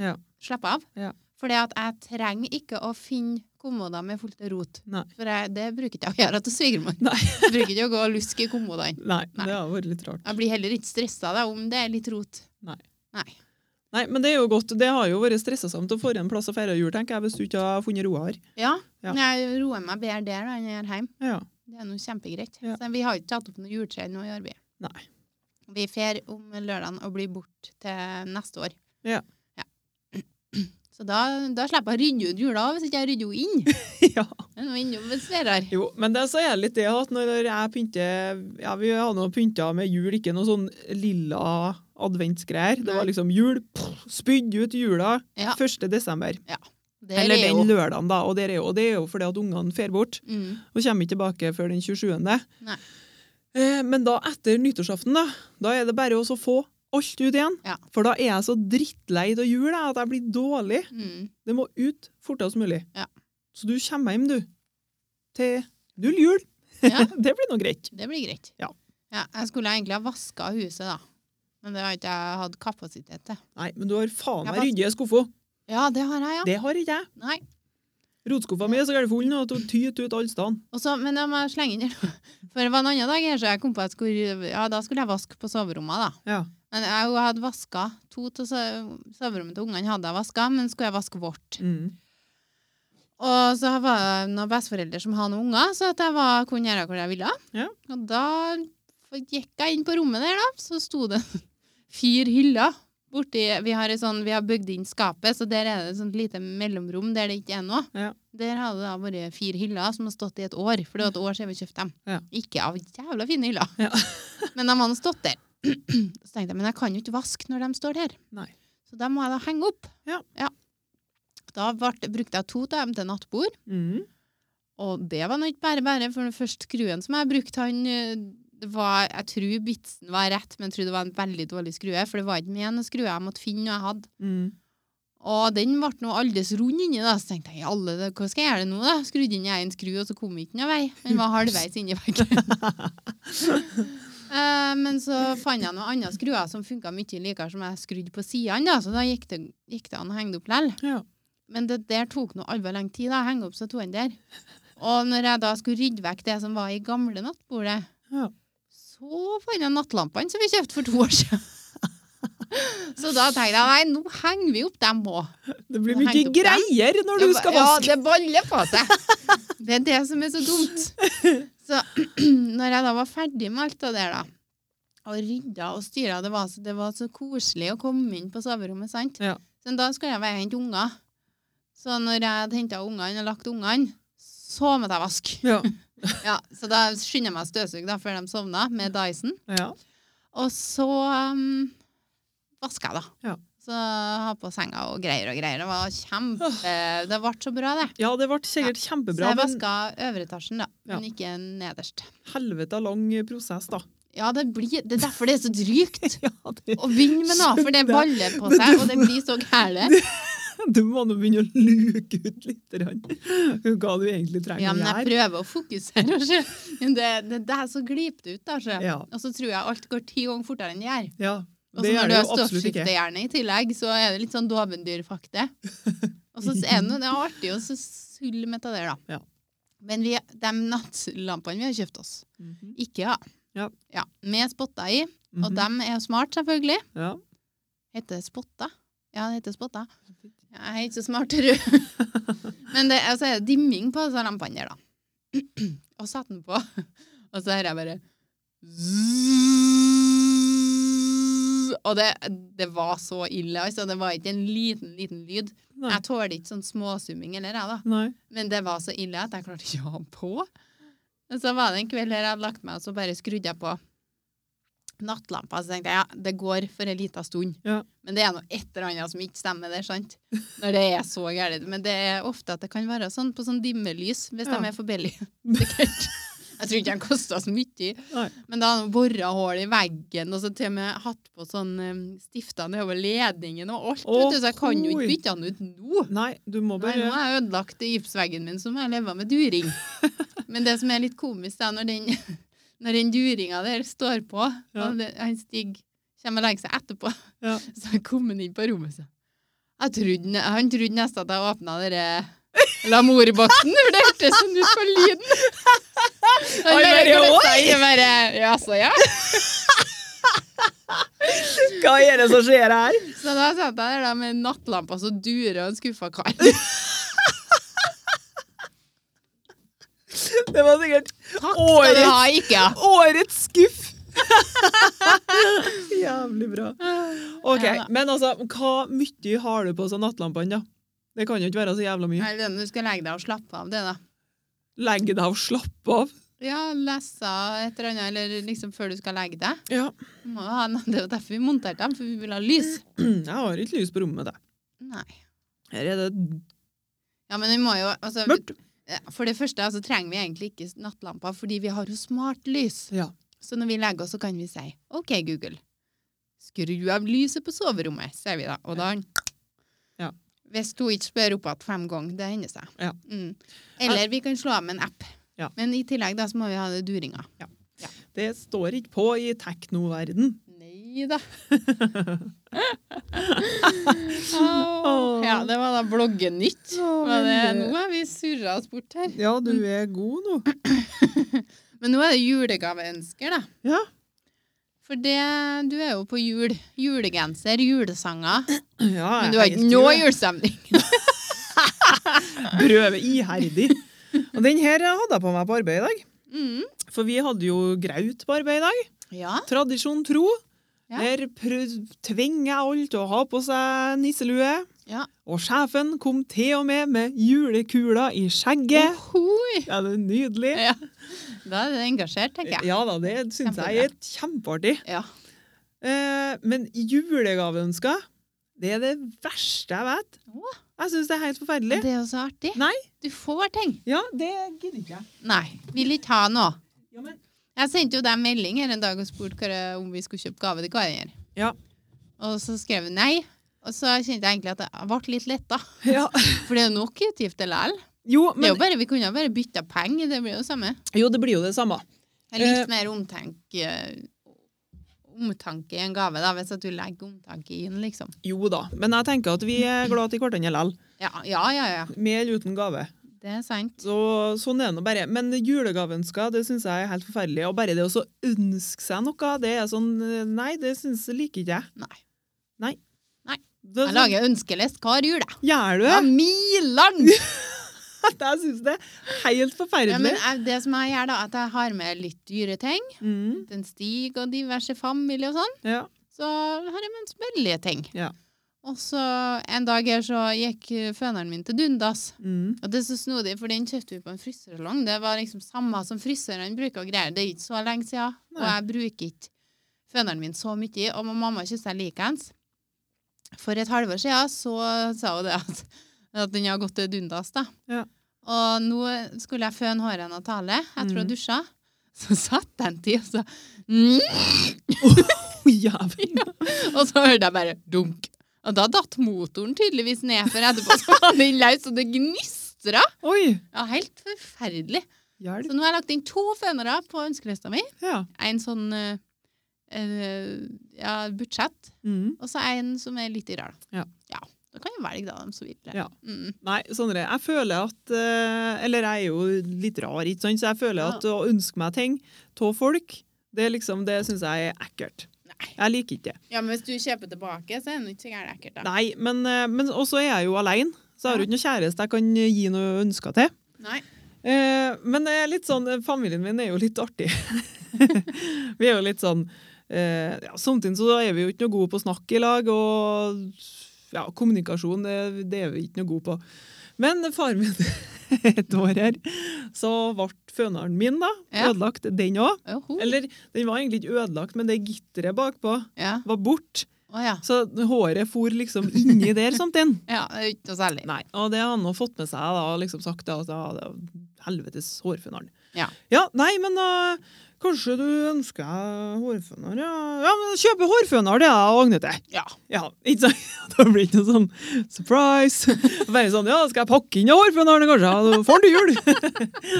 Ja.
slapper av.
Ja.
For jeg trenger ikke å finne kommoder med fullt av rot.
Nei.
For jeg, det bruker ikke jeg å gjøre til svigermor.
Nei.
Jeg bruker ikke å gå og luske i kommodene.
Nei,
Nei.
det har vært litt rart.
Jeg blir heller ikke stressa da, om det er litt rot.
Nei, men det er jo godt. Det har jo vært stressesamt å få en plass å feire jul, tenker jeg, hvis du ikke har funnet roa her.
Ja,
Ja.
men jeg roer meg bedre der da, enn jeg gjør hjemme.
Ja.
Det er nå kjempegreit.
Ja.
Så vi har ikke tatt opp noe juletre nå i arbeidet.
Nei.
Vi fer om lørdagen og blir bort til neste år.
Ja.
Ja. Så da, da slipper jeg å rydde ut jula hvis ikke jeg rydder henne inn.
ja.
Men nå er innom med Sverre.
Jo, men det så er det litt det at når jeg pynter Ja, vi har nå pynta med jul, ikke noe sånn lilla adventsgreier. Det
Nei.
var liksom jul, pff, spydd ut jula
Ja.
1. desember.
Der
Eller
er
den
hun.
lørdagen, da. Og, der er jo, og det er jo fordi at ungene fer bort
Mm.
og kommer ikke tilbake før den 27.
Nei.
Eh, men da etter nyttårsaften, da, da er det bare å så få alt ut igjen.
Ja.
For da er jeg så drittlei av jul jeg, at jeg blir dårlig.
Mm.
Det må ut fortest mulig.
Ja.
Så du kommer hjem, du. Til null jul.
Ja.
det blir nå greit.
Det blir greit.
Ja.
Ja, jeg skulle egentlig ha vaska huset, da. Men det har ikke jeg hatt kapasitet til.
Nei, men du har faen meg
Jeg var-
ryddige skuffer.
Ja, det har jeg, ja.
Det har ikke jeg.
Nei.
Rotskuffa mi er så gærent full nå at hun tyter ut alle steder.
Og så- men jeg må slenge inn her nå. For det var en annen dag her, så jeg kom på at jeg skulle, ja, da skulle jeg vaske på soverommet. da.
Ja.
Men jeg hadde vaska to til so- soverommet til ungene, hadde jeg vaska, men skulle jeg vaske vårt.
Mm.
Og så var det noen besteforeldre som hadde noen unger, så at jeg var, kunne gjøre hvor jeg ville.
Ja.
Og da gikk jeg inn på rommet der, da, så sto det fire hyller. Borti, vi har, en sånn, vi har bygd inn skapet, så der er det et sånt lite mellomrom der det ikke er noe.
Ja.
Der har det da vært fire hyller som har stått i et år, for det var et år siden vi kjøpte dem.
Ja.
Ikke av jævla fine hyller.
Ja.
men de hadde stått der. så tenkte jeg, men jeg kan jo ikke vaske når de står der.
Nei.
Så da må jeg da henge opp.
Ja.
Da vart- brukte jeg to av dem til nattbord,
Mm.
og det var nå ikke bare bare, for den første skruen som jeg brukte, han øh, det var, jeg tror bitsen var rett, men jeg tror det var en veldig dårlig skrue, for det var ikke med en skrue jeg måtte finne noe jeg hadde.
Mm.
Og den ble nå aldeles rund inni, da. Så tenkte jeg, alle, det- hva skal jeg gjøre nå, da? Skrudde inn i en skru, og så kom ikke noen vei. Den var halvveis inni veggen. Eh, Men så fant jeg noen andre skruer som funka mye likere, som jeg skrudde på sidene, da. Så da gikk det, gikk det an å henge det opp likevel.
Ja.
Men det der tok nå alvor lang tid, da. Henge opp så to der. Og når jeg da skulle rydde vekk det som var i gamle nattbordet,
Ja.
så fant jeg nattlampene som vi kjøpte for to år siden. Så da tenkte jeg nei, nå henger vi opp dem òg.
Det blir
Nå
mye
hengte opp der.
greier når du
Ja,
skal
ba-
vaske.
Ja, det baller på seg. Det er det som er så dumt. Så når jeg da var ferdig med alt det der, da, og rydda og styra, det, var så- det var så koselig å komme inn på soverommet, sant?
Ja.
Så da skulle jeg bare hente unger. Så når jeg hadde henta ungene og lagt ungene, så måtte jeg vaske.
Ja.
Ja, så da skynder jeg meg å støvsuge da, før de sovna, med Dyson.
Ja.
Og så um, vasker jeg, da.
Ja.
Så ha på senga og greier og greier. Det var kjempe Det ble så bra, det.
Ja, det ble sikkert
Så
kjempebra,
jeg
men
vaska øvre etasjen, da, men ikke nederst.
helvete lang prosess, da.
Ja, det, blir, det er derfor det er så drygt
Ja, det,
å begynne med noe, for det baller på seg, og det blir så gærent.
du må nå begynne å luke ut litt grann, hva du egentlig trenger
Ja, men
å
jeg
gjøre.
prøver å fokusere, og se. men det, det der så gliper det ut, da. Se.
Ja,
Og så tror jeg alt går ti ganger fortere enn det gjør.
ja.
Og
Det
så
er
Altså, når du har
det jo absolutt ikke.
stoffskiftehjerne i tillegg, så er det litt sånn dovendyrfakte. Og så er det noe, det er artig å så sulle med av det, da.
Ja.
Men vi, de nattlampene vi har kjøpt oss,
Mhm.
IKEA,
Ja.
med spotter i, og
Mhm.
de er jo smart selvfølgelig,
Ja.
heter det spotter? Ja, det heter spotter. Ja, Jeg er ikke så smart, tror jeg. Men det, og så er det dimming på disse lampene der, da. Og satt den på, og så hører jeg bare zzzz. Og det, det var så ille, altså. Det var ikke en liten, liten lyd.
Nei.
Jeg tåler ikke sånn småsumming eller jeg, da.
Nei.
Men det var så ille at jeg klarte ikke å ha den på. Men så var det en kveld der jeg hadde lagt meg, og så bare skrudde jeg på nattlampa. Så tenkte jeg ja, det går for en liten stund.
Ja.
Men det er noe et eller annet som ikke stemmer der, sant? Når det er så gærent. Men det er ofte at det kan være sånn på sånn dimmelys, hvis
Ja.
de er for billige. Sikkert. Jeg tror ikke de kosta så mye.
Nei.
Men da har han bora hull i veggen, og så til og med hatt på sånn um, stifter nedover ledningen og alt.
Å,
vet du, så jeg kan jo
hoi.
ikke bytte han ut nå.
Nei, du må
Nei, nå
bare
har jeg ødelagt gipsveggen min, så må jeg leve med during. Men det som er litt komisk, det er når den, når den duringa der står på,
Ja.
og det, han Stig kommer og legger seg etterpå,
Ja.
så kommer han inn på rommet sitt. Jeg trodde, ne- han trodde nesten at jeg åpna denne Lamorboksen, for det hørtes sånn ut på lyden. Han
Oi,
bare
bare, oi!
gløtta i og bare Ja, så ja.
Hva er det som skjer her?
Så da satt jeg der da med nattlampa så durer og en skuffa kar.
Det var sikkert
Takk skal du ha, ikke.
årets skuff! Jævlig bra. Ok,
Ja da.
Men altså, hva mye har du på sånn nattlampene, da? Det kan jo ikke være så jævla mye.
Er det den du skal legge deg og slappe av, det, da?
Legg deg og slapp av.
Ja, lese et eller annet, eller liksom før du skal legge deg.
Ja.
Du Må jo ha noe- Det var derfor vi monterte dem, for vi ville ha lys.
Jeg har ikke lys på rommet, det.
Nei.
Her er det
Ja, men vi må jo altså,
mørkt.
ja, For det første så trenger vi egentlig ikke nattlamper, fordi vi har jo smart lys.
Ja.
Så når vi legger oss, så kan vi si OK, Google, skru av lyset på soverommet, sier vi da. Og da han
Ja.
Hvis hun ikke spør opp igjen fem ganger, det hender seg.
Ja.
Mm. Eller vi kan slå av med en app.
Ja.
Men i tillegg da så må vi ha det duringa.
Det står ikke på i teknoverden.
Nei da. Åh, ja, det var da bloggenytt. Var det, nå er vi surra oss bort her.
Ja, du er god nå.
Men nå er det julegaveønsker, da.
Ja.
For det, du er jo på jul. Julegenser, julesanger.
ja
Men du har ikke noe julestemning.
Prøve iherdig. Og den her hadde jeg på meg på arbeid i dag.
Mm.
For vi hadde jo graut på arbeid i dag.
Ja.
Tradisjon tro.
Ja.
Der prøv- tvinger jeg alle til å ha på seg nisselue.
Ja.
Og sjefen kom til og med med julekula i skjegget.
Ohoi.
Ja, det er nydelig.
Ja. Da er det engasjert, tenker jeg.
Ja da, det syns jeg er kjempeartig.
Ja.
Eh, men julegaveønsker, det er det verste jeg vet.
Åh.
Jeg syns det er helt
Det
forferdelig.
er jo så artig.
Nei.
Du får ting.
Ja, det gidder ikke jeg.
Nei. Vil ikke ha noe.
Ja, men
Jeg sendte jo deg en melding her en dag og spurte hva det- om vi skulle kjøpe gave til Karier.
Ja.
Og så skrev hun nei. Og så kjente jeg egentlig at jeg ble litt letta.
ja.
For det er jo nok utgifter likevel.
Jo,
Det er jo
men,
bare, vi kunne jo bare bytta penger. Det blir jo det samme.
jo, det blir jo det samme.
Det er
Eh.
litt mer omtanke, omtanke i en gave, da, hvis at du legger omtanke i den, liksom.
Jo da, men jeg tenker at vi er glad i hverandre likevel.
Ja, ja, ja. ja.
Med eller uten gave.
Det er sant.
Så, sånn er det nå bare. Men julegaveønsker, det syns jeg er helt forferdelig. Og bare det å så ønske seg noe, det er sånn Nei, det syns liker ikke jeg.
Nei.
Nei.
Nei.
Det, sånn,
Jeg lager ønskelist hver jul, jeg.
Gjør du
Ja,
det?
Milan!
Jeg syns det er helt forferdelig.
Ja, men jeg- det som jeg gjør, da, at jeg har med litt dyre ting.
mm,
En stig og diverse familie og sånn.
ja.
Så har jeg mens veldige ting.
Ja.
Og så en dag her så gikk eh, føneren min til dundas.
Mm.
Og det er så snodig, for den kjøpte vi på en frisørsalong. Det var liksom samme som frisørene bruker og greier. Det er ikke så lenge siden. Og
Nei.
jeg bruker ikke føneren min så mye. Og mamma kysser likeens. For et halvår siden så sa hun det at, at den har gått til dundas. da.
Ja.
Og nå skulle jeg føne håret hennes og tale etter hun
Mhm.
dusja. Så satt jeg en tid og så mm,
Å, jævlig.
Og så hørte jeg bare dunk. Og da datt motoren tydeligvis ned, for etterpå så var den løs, og det gnistra.
Oi,
Ja, helt forferdelig.
hjelp.
Så nå har jeg lagt inn to fønere på ønskelista mi.
Ja.
En sånn eh, eh, ja, budsjett,
Mm.
og så en som er litt rar.
Ja.
ja. Da kan jeg velge, da, dem som vil det.
Ja.
Mm.
Nei, Sondre, jeg føler at eh, Eller jeg er jo litt rar, ikke sant? så jeg føler
Ja.
at å ønske meg ting av folk, det, er liksom, det syns jeg er ekkelt.
Nei.
Jeg liker ikke det.
Ja, men hvis du kjøper tilbake, så er det ikke så gærent ekkelt, da.
Nei, men, eh, men også er jeg jo alene, så jeg har jo ikke noe kjæreste jeg kan eh, gi noe ønsker til.
Nei.
Eh, men det er litt sånn, eh, familien min er jo litt artig. vi er jo litt sånn eh, ja, Samtidig så er vi jo ikke noe gode på å snakke i lag, og ja, kommunikasjon det, det er vi ikke noe gode på. Men faren min et år her, så ble føneren min da,
Ja.
ødelagt, den òg.
Joho.
Eller den var egentlig ikke ødelagt, men det gitteret bakpå
Ja.
var borte.
Å ja.
Så håret for liksom inni der samtidig.
Ja, det er ikke noe særlig.
Nei, og det har han nå fått med seg da, og liksom sagt da, at ja, det er helvetes hårføneren.
Ja.
nei, men da, kanskje du ønsker deg hårføner, ja. Ja, men kjøpe hårføner, det er jeg og Agne til.
Ja.
Ja, ikke sant? Da blir det ikke noe sånn surprise. Bare sånn, ja, skal jeg pakke inn hårføneren kanskje? Ja, du får den til jul.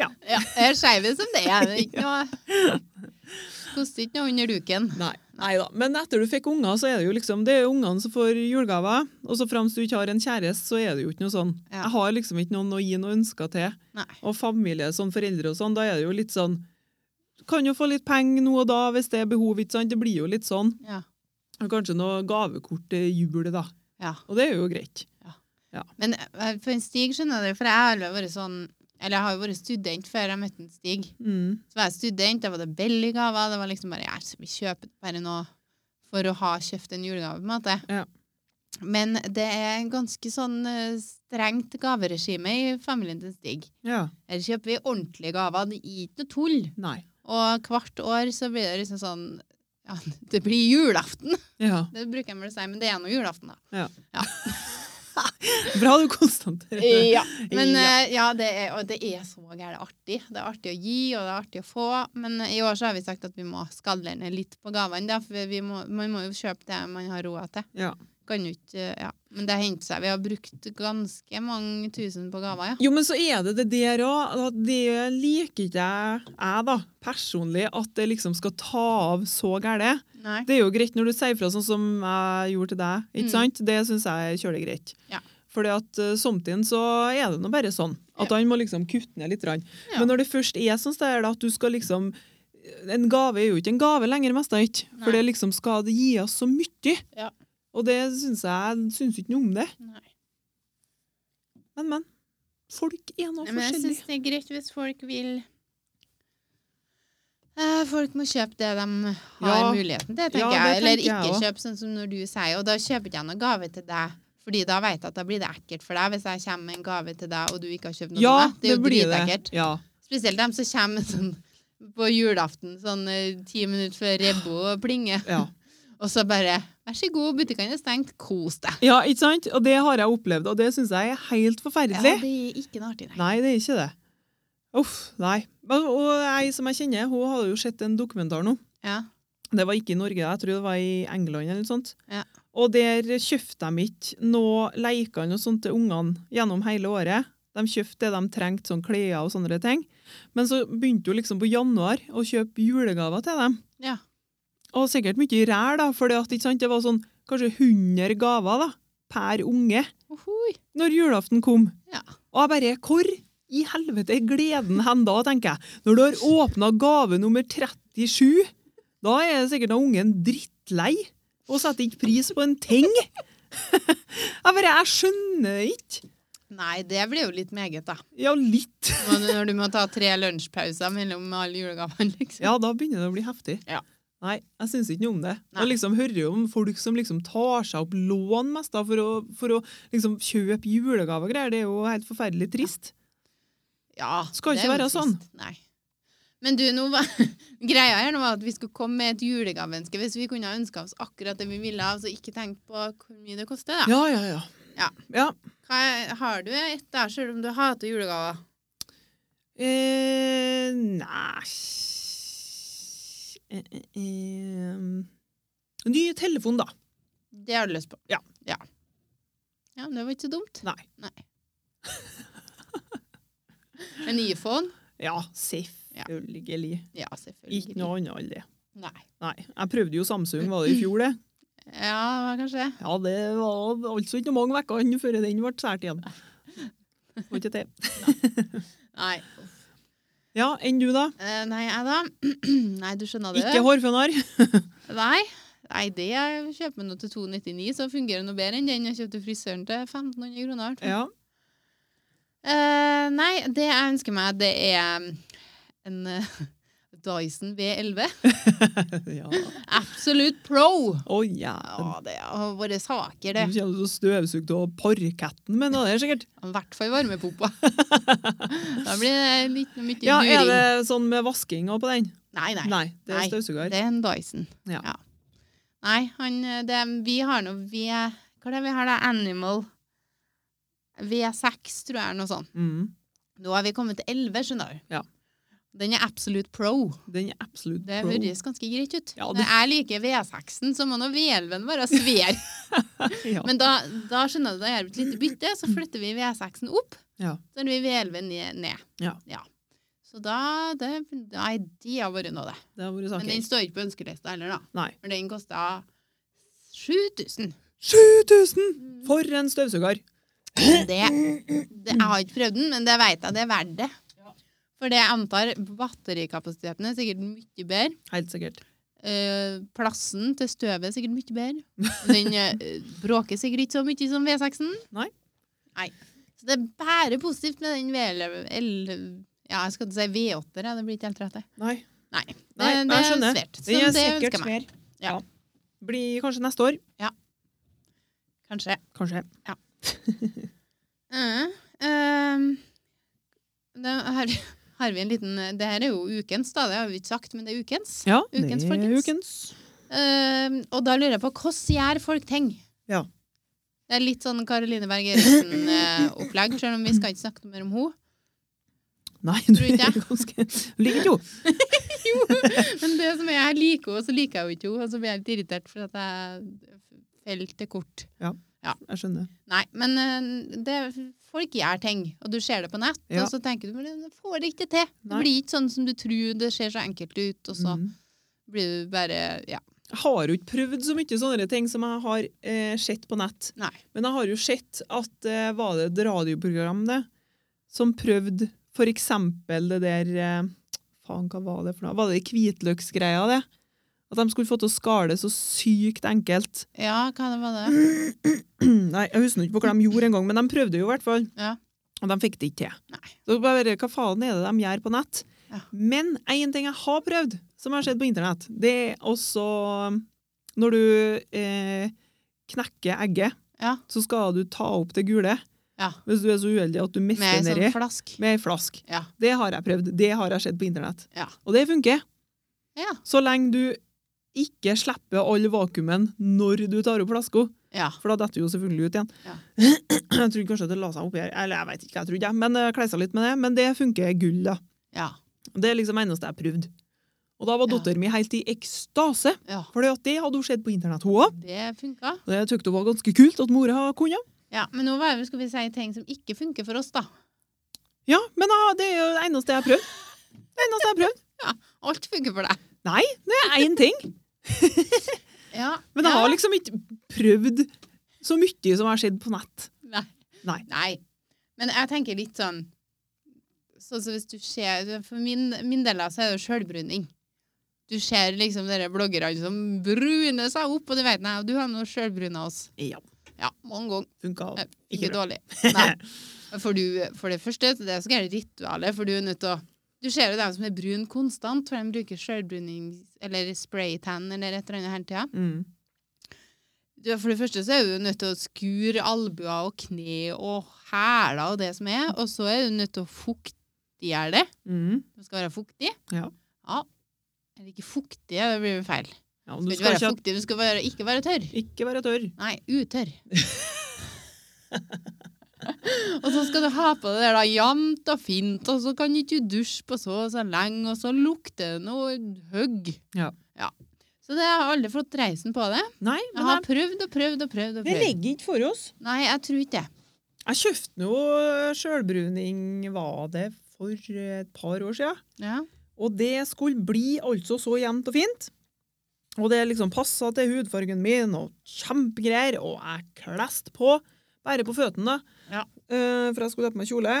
Ja, jeg er skeiv som det er. Det er ikke noe Koster ikke noe under duken.
Nei, nei da. Men etter du fikk unger, så er det jo liksom, det er jo ungene som får julegaver, og så fremst du ikke har en kjæreste, så er det jo ikke noe sånn.
Ja.
Jeg har liksom ikke noen å gi noe ønsker til.
Nei.
og familie som foreldre og sånn, da er det jo litt sånn Kan jo få litt penger nå og da hvis det er behov, ikke sant? Det blir jo litt sånn.
Ja.
Og Kanskje noe gavekort til jul, da.
ja.
Og det er jo greit.
Men eh, for en Stig skjønner jeg det, for jeg har aldri vært sånn Eller jeg har jo vært student før jeg møtte en Stig.
Mm.
Så var jeg student, da var det billige gaver. Det var liksom bare jeg vi kjøper bare noe for å ha kjøpt en julegave, på en måte.
Ja.
Men det er en ganske sånn eh, strengt gaveregime i familien til Stig.
Ja.
Her kjøper vi ordentlige gaver. Det er ikke noe tull.
Nei.
Og hvert år så blir det liksom sånn ja, Det blir julaften!
Ja.
Det bruker jeg vel å si, men det er nå julaften, da.
Bra du konstaterer det.
Ja. Men
Ja.
eh, ja, det er, og det er så gærent artig. Det er artig å gi, og det er artig å få. Men eh, i år så har vi sagt at vi må skadle ned litt på gavene, da, for vi må, man må jo kjøpe det man har råd til.
Ja.
Kan jo ikke, eh, ja. Men det henter seg. Vi har brukt ganske mange tusen på gaver, ja.
Jo, men så er det det der òg. Det liker ikke jeg, jeg da, personlig, at det liksom skal ta av så gærent.
Nei.
Det er jo greit når du sier fra sånn som jeg gjorde til deg.
Mm.
ikke sant? Det syns jeg er kjølig greit.
Ja.
Fordi at uh, samtidig så er det nå bare sånn. At han må liksom kutte ned litt. grann.
Ja.
Men når det først er sånn, så er det at du skal liksom En gave er jo ikke en gave lenger, mest av ikke. For
Nei.
det liksom skal det gi oss så mye.
Ja.
Og det syns jeg syns ikke noe om det.
Nei.
Men, men. Folk er nå
Nei, men jeg
forskjellige.
syns det er greit hvis folk vil Eh, Folk må kjøpe det de har
Ja.
muligheten til,
Ja,
tenker
det
jeg. Eller
tenker jeg
ikke
også.
kjøpe sånn som når du sier. Og da kjøper ikke jeg noen gave til deg. Fordi da vet jeg at da blir det ekkelt for deg hvis jeg kommer med en gave til deg, og du ikke har kjøpt noe
Ja,
til meg. Det er jo
blir
dritekkelt.
Ja.
Spesielt dem som kommer sånn på julaften, sånn eh, ti minutter før Rebbo plinger,
ja.
og så bare 'Vær så god, butikkene er stengt. Kos deg'.
ja, ikke sant? Og det har jeg opplevd, og det syns jeg er helt
Ja,
forferdelig.
det er ikke noe artig, nei.
Nei, det er ikke det. Uff, nei. Men- Og ei som jeg kjenner, hun hadde jo sett en dokumentar nå.
Ja.
Det var ikke i Norge, jeg tror det var i England eller noe sånt.
Ja.
Og der kjøpte de ikke noe leker og sånt til ungene gjennom hele året. De kjøpte det de trengte, sånn klær og sånne ting. Men så begynte hun liksom på januar å kjøpe julegaver til dem.
Ja.
Og sikkert mye rær, da, for det var sånn kanskje 100 gaver da, per unge
Ohoi.
når julaften kom.
Ja.
Og jeg bare Hvor i helvete er gleden hen da, tenker jeg. Når du har åpna gave nummer 37, da er sikkert den ungen drittlei og setter ikke pris på en ting. Jeg bare Jeg skjønner ikke.
Nei, det blir jo litt meget, da.
Ja, litt.
Når du, når du må ta tre lunsjpauser mellom alle julegavene, liksom.
Ja, da begynner det å bli heftig.
Ja.
Nei, jeg syns ikke noe om det.
Nei.
Jeg liksom hører jo om folk som liksom tar seg opp lån mest da, for å, for å liksom kjøpe julegaver og greier. Det er jo helt forferdelig trist.
Ja,
Skal
det
ikke
er jo
være sånn.
trist. Nei. Men du, nå var, greia her nå var at vi skulle komme med et julegaveønske hvis vi kunne ha ønska oss akkurat det vi ville av, så ikke tenk på hvor mye det koster, da.
Ja, ja, ja.
Ja. Hva, er- har du et der, selv om du hater julegaver?
Eh, nei eh, eh, eh. Ny telefon, da.
Det har du lyst på?
Ja.
Ja, ja men det var ikke så dumt.
Nei.
En iPhone?
Ja, selvfølgelig.
Ja, selvfølgelig.
Ikke noe annet enn det.
Nei.
Nei. Jeg prøvde jo Samsung, var det i fjor, det?
Ja, det var kanskje det.
Ja, det var altså ikke mange ukene før den ble sært igjen. Var ikke det.
Nei.
Ja, enn du, da?
Eh, nei, jeg da? nei, du skjønner det.
Ikke hårfønar?
Nei. Nei, det jeg kjøper nå til 299, så fungerer det noe bedre enn den jeg kjøpte frisøren til 1500 kroner. i hvert fall.
Ja.
Eh, nei, det jeg ønsker meg, det er um, en eh, Dyson V11.
ja.
Absolute Pro!
Å, jævlen.
Ja, det har vært saker,
Du
det.
kjenner du så støvsugd av parketten, men det er sikkert.
I hvert fall varmepumpa. da blir det litt mye
Ja, Er
during.
det sånn med vasking og på den?
Nei, nei.
Nei, det er
Nei,
støvsuger.
Det er en Dyson.
Ja.
Nei, han eh, det, Vi har nå V... Hva er det vi har da? Animal V6, tror jeg, er noe sånt.
Mm.
Nå har vi kommet til 11, skjønner du.
Ja.
Den er absolute pro.
Den er absolutt
Det
pro.
høres ganske greit ut.
Ja,
Når jeg liker V6-en, så må nå V11-en være svær.
Ja.
Men da, da skjønner du, da gjør vi et lite bytte, så flytter vi V6-en opp.
Ja.
Så er vi V11-en ne- ned.
Ja.
Så da det, Nei, det har vært noe, det.
Det har vært
Men den
saker.
står ikke på ønskelista heller, da.
Nei.
For den kosta 7000.
7000!
Mm.
For en støvsuger!
Det, det, jeg har ikke prøvd den, men det vet jeg det er verdt det. For det jeg antar, batterikapasiteten er sikkert mye bedre.
Helt sikkert.
Eh, plassen til støvet er sikkert mye bedre. Den eh, bråker sikkert ikke så mye som V6-en.
Nei.
Nei. Så det er bare positivt med den V11 el- Ja, jeg skal ikke si V8-er, jeg, det blir ikke helt rett. det.
Nei.
Nei. Det,
Nei, jeg
det er
skjønner.
svært. Så
Den er
det ønsker
sikkert
jeg meg.
svær.
Ja.
Blir kanskje neste år.
Kanskje.
Kanskje.
Mm. Ehm, da har, har vi en liten Det her er jo ukens, da. Det har vi ikke sagt, men det er ukens.
Ja,
Ukens,
det er
folkens.
Ukens.
Ehm, og da lurer jeg på hvordan gjør folk ting?
Ja.
Det er litt sånn Karoline Berg Eriksen-opplegg, selv om vi skal ikke snakke noe mer om henne.
Nei, du
Tror ikke
er
jeg.
ganske Ligger ikke jo.
Men det som er, jeg liker henne, så liker jeg jo ikke henne, og så blir jeg litt irritert for at jeg faller til kort.
Jeg skjønner.
Nei, men eh, det, folk gjør ting, og du ser det på nett,
Ja.
og så tenker du men jeg får det ikke til. Det
Nei.
blir ikke sånn som du tror, det ser så enkelt ut, og så
Mm.
blir du bare Ja.
Jeg har jo ikke prøvd så mye sånne ting som jeg har eh, sett på nett.
Nei.
Men jeg har jo sett at eh, var det et radioprogram det, som prøvde for eksempel det der eh, Faen, hva var det for noe? Var det de hvitløksgreia, det? At de skulle få til å skale så sykt enkelt.
Ja, hva det var det?
Mm. Nei, jeg husker ikke på hva de gjorde engang, men de prøvde jo i hvert fall.
Ja.
Og de fikk det ikke til.
Nei.
Så bare, hva faen er det de gjør på nett?
Ja.
Men én ting jeg har prøvd, som jeg har sett på internett, det er også um, Når du eh, knekker egget,
Ja.
så skal du ta opp det gule.
Ja.
Hvis du er så uheldig at du mister
Med
det
sånn
nedi.
flask.
Med ei flask.
Ja.
Det har jeg prøvd. Det har jeg sett på internett.
Ja.
Og det funker.
Ja.
Så lenge du ikke slipper all vakuumen når du tar opp flaska.
Ja.
For da detter jo selvfølgelig ut igjen.
Ja.
Jeg trodde kanskje at det la seg oppi her, eller jeg vet ikke hva jeg trodde, jeg, men jeg kleisa litt med det. Men det funker gull, da.
Ja.
Det er liksom eneste jeg har prøvd. Og da
Ja.
var datteren min helt i ekstase,
ja.
for det hadde hun sett på internett, hun òg.
Det funka.
Og det syntes hun var ganske kult at mora kunne.
Ja, men nå var det- skal vi si ting som ikke funker for oss, da.
Ja, men ah, det er jo det eneste jeg har prøvd. Det eneste jeg har prøvd.
Alt funker for deg.
Nei, det er én ting.
Ja.
Men jeg har liksom ikke prøvd så mye som jeg har sett på nett.
Nei.
Nei.
Men jeg tenker litt sånn Sånn som hvis du ser For min, min del av så er det jo sjølbruning. Du ser liksom dere bloggerne som bruner seg opp, og du vet nei, du har nå sjølbruna oss.
Ja,
Ja, mange ganger.
funka
Eh,
ikke
Ikke
bra.
dårlig. Nei. For, du, for det første, det er så gærent ritualet, for du er nødt til å Du ser jo dem som er brune konstant, for de bruker sjølbruning eller spraytan eller et eller annet hele tida.
Mm.
du, for det første så er du nødt til å skure albuer og kne og hæler og det som er, og så er du nødt til å fukte fuktiggjør det.
Mm.
De skal være fuktig.
Ja.
ja. Eller ikke fuktige, det blir jo feil.
Ja, men
Du
du
skal ikke være
skal
fuktig, du skal være, ikke være tørr.
ikke, ikke være tørr.
Nei, utørr. og så skal du ha på det der da, jevnt og fint, og så kan ikke du dusje på så og så lenge, og så lukter det noe høgg.
Ja.
Så det har aldri fått reisen på det.
Nei,
Jeg
men
har prøvd og prøvd og prøvd. og
det
prøvd.
ligger ikke for oss.
Nei, jeg tror ikke det.
Jeg kjøpte nå eh, sjølbruning, var det for eh, et par år siden?
Ja.
Og det skulle bli altså så jevnt og fint. Og det liksom passa til hudfargen min, og kjempegreier. Og jeg kleste på, bare på føttene, da.
Ja.
Eh, for jeg skulle ta på meg kjole.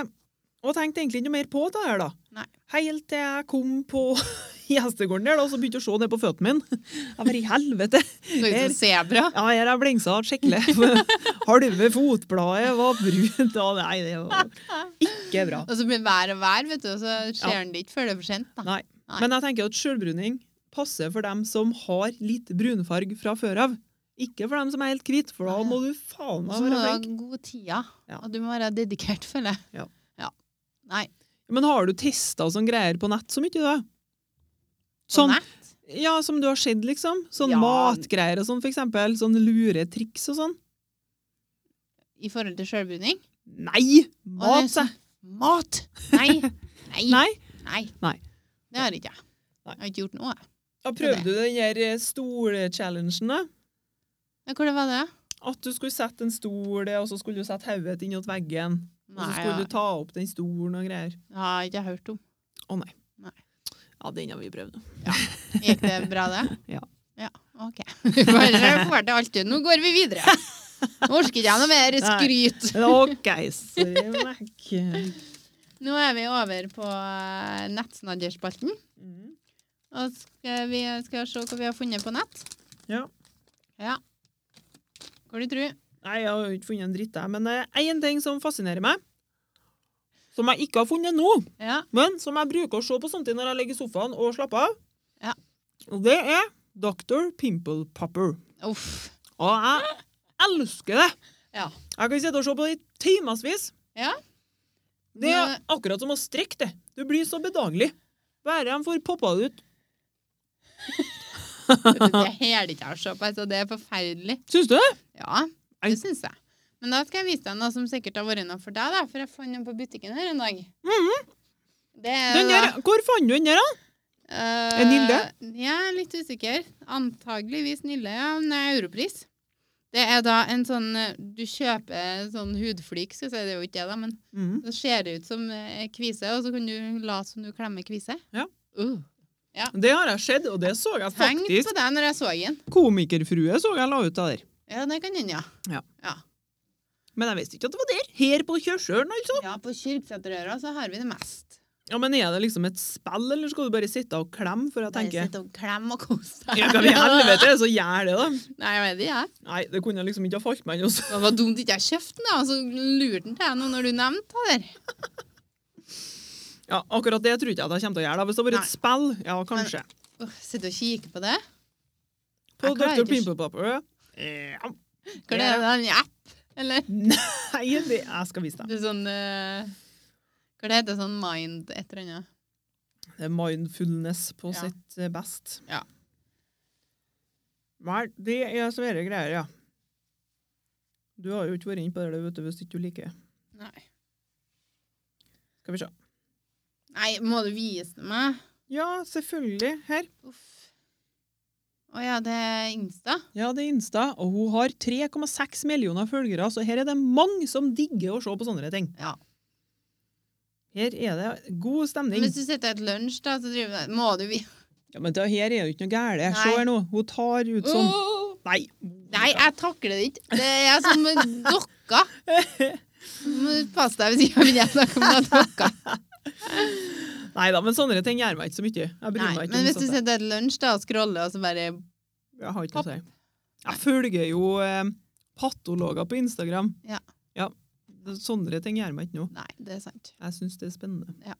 Og tenkte egentlig ikke noe mer på det her, da.
Nei.
Helt til jeg kom på gjestegården der, da, og så begynte jeg å se ned på føttene mine. Jeg bare i helvete!
Så ut som sebra.
Ja, her er blingsa skikkelig. Halve fotbladet var brunt. Ja, nei, det var ikke bra.
Og så blir det vær og vær, vet du, og så ser
Ja.
den det ikke før det er for sent. Da.
Nei. Men jeg tenker at sjølbruning passer for dem som har litt brunfarg fra før av. Ikke for dem som er helt hvit, for da må du faen
Og
meg
så må du
være
ha
flink.
god tida,
Ja.
og du må være dedikert, føler jeg.
Ja.
Nei.
Men har du testa sånne greier på nett så mye, da?
på
Sånn,
nett.
ja, som du har sett, liksom? Sånn
Ja.
matgreier og sånn, for eksempel. Sånn lure triks og sånn.
I forhold til sjølbruning?
Nei!
Og
Mat,
det er
sa jeg.
Mat! Nei. Nei. Nei.
sånn- Nei. Nei.
Det har ikke jeg.
Nei.
Jeg har ikke gjort noe. jeg.
Da prøvde du den der eh, stolchallengen, da.
Men Hvor det var det?
At du skulle sette en stol, og så skulle du sette hodet ditt innåt veggen. Og
Nei,
så
jeg
skulle du ta opp den stolen og greier.
jeg har ikke hørt om.
Ja, den har vi prøvd.
Gikk det bra, det?
Ja.
Ja, OK. Bare får til alt. Nå går vi videre. Nå orker ikke jeg noe mer
Nei.
skryt.
OK, sorry, Mac.
Nå er vi over på eh, nettsnadderspalten.
Mm.
Og skal vi skal se hva vi har funnet på nett.
Ja.
Ja. Hva du tror
Nei, jeg har jo ikke funnet en dritt, jeg. Men én ting som fascinerer meg, som jeg ikke har funnet nå,
Ja.
men som jeg bruker å se på samtidig når jeg ligger i sofaen og slapper av,
Ja.
Og det er Dr. Pimple Popper.
Uff.
Og jeg elsker det!
Ja.
Jeg kan sitte og se på det i timevis.
Ja.
Det er akkurat som å strekke det. Du blir så bedagelig. Bare de får poppa det ut.
Det hæler ikke jeg å se på, altså. Det er forferdelig.
Syns du det?
Ja,
Ei.
det syns jeg. Men da skal jeg vise deg noe som sikkert har vært noe for deg, da, for jeg fant den på butikken her en dag. Det er
Mhm. Den der, hvor fant du den der, da?
eh,
er Nille?
Jeg er litt usikker. Antageligvis Nille, ja. Men det er europris. Det er da en sånn eh, Du kjøper en sånn hudflik, skal jeg si. Det er jo ikke det, da, men
Mm.
det ser ut som eh, kvise, og så kan du late som du klemmer kvise.
Ja.
Uh.
Det har jeg sett, og det så jeg
Tenk
faktisk.
på det når jeg så den.
Komikerfrue så jeg la ut av der.
Ja, det kan hende, ja.
Men jeg visste ikke at det var der. Her på kjørselen, altså.
Ja, på Kyrksæterøra så har vi det mest.
Ja, men er det liksom et spill, eller skal du bare sitte og klemme? For jeg
Bare
tenker
sitte og klemme og kose deg.
ja, Hva i helvete er det som gjør det, da?
Nei, jeg vet ikke, jeg.
Nei, det kunne liksom ikke ha falt meg inn. altså.
Det var dumt ikke jeg kjøpte den, da. og Så lurte den til jeg nå når du nevnte det der.
Ja, akkurat det tror jeg ikke at jeg kommer til å gjøre. da. Hvis det var et spill, ja, kanskje.
Åh, Sitter og kikker på det.
På
jeg klarer
Dr.
ikke-
Pimple Popper. Ja.
Hva er det, det er en app? Eller
Nei, det, jeg skal vise deg.
det er sånn eh, Hva det heter sånn mind et eller annet?
Det er eh, mindfulness på
Ja.
sitt eh, best.
Ja.
Vel, det er svære greier, ja. Du har jo ikke vært inne på det, vet du, hvis ikke du liker det.
Nei.
Skal vi se.
Nei, må du vise det meg?
Ja, selvfølgelig. Her.
Uff. Å ja, det er Insta?
Ja, det er Insta, og hun har 3,6 millioner følgere, så her er det mange som digger å se på sånne ting.
Ja.
Her er det god stemning.
Hvis du sitter et lunsj, da, så driver du Må du vi...
Ja, men det her er jo ikke noe gærent. Se
Nei.
her nå. Hun tar ut sånn.
Åh!
Nei.
Nei, jeg takler det ikke. Det er som en dokka. Må du passe deg hvis ikke jeg begynner å snakke om den dokka.
Nei da, men sånne ting gjør meg ikke så mye. Jeg bryr
Nei,
meg ikke
men
om
hvis du
sånt.
sitter et lunsj da, og scroller, og så bare
Jeg har ikke noe å si. Jeg følger jo eh, patologer på Instagram.
Ja.
ja. Sånne ting gjør meg ikke noe.
Nei, det er sant.
Jeg syns det er spennende.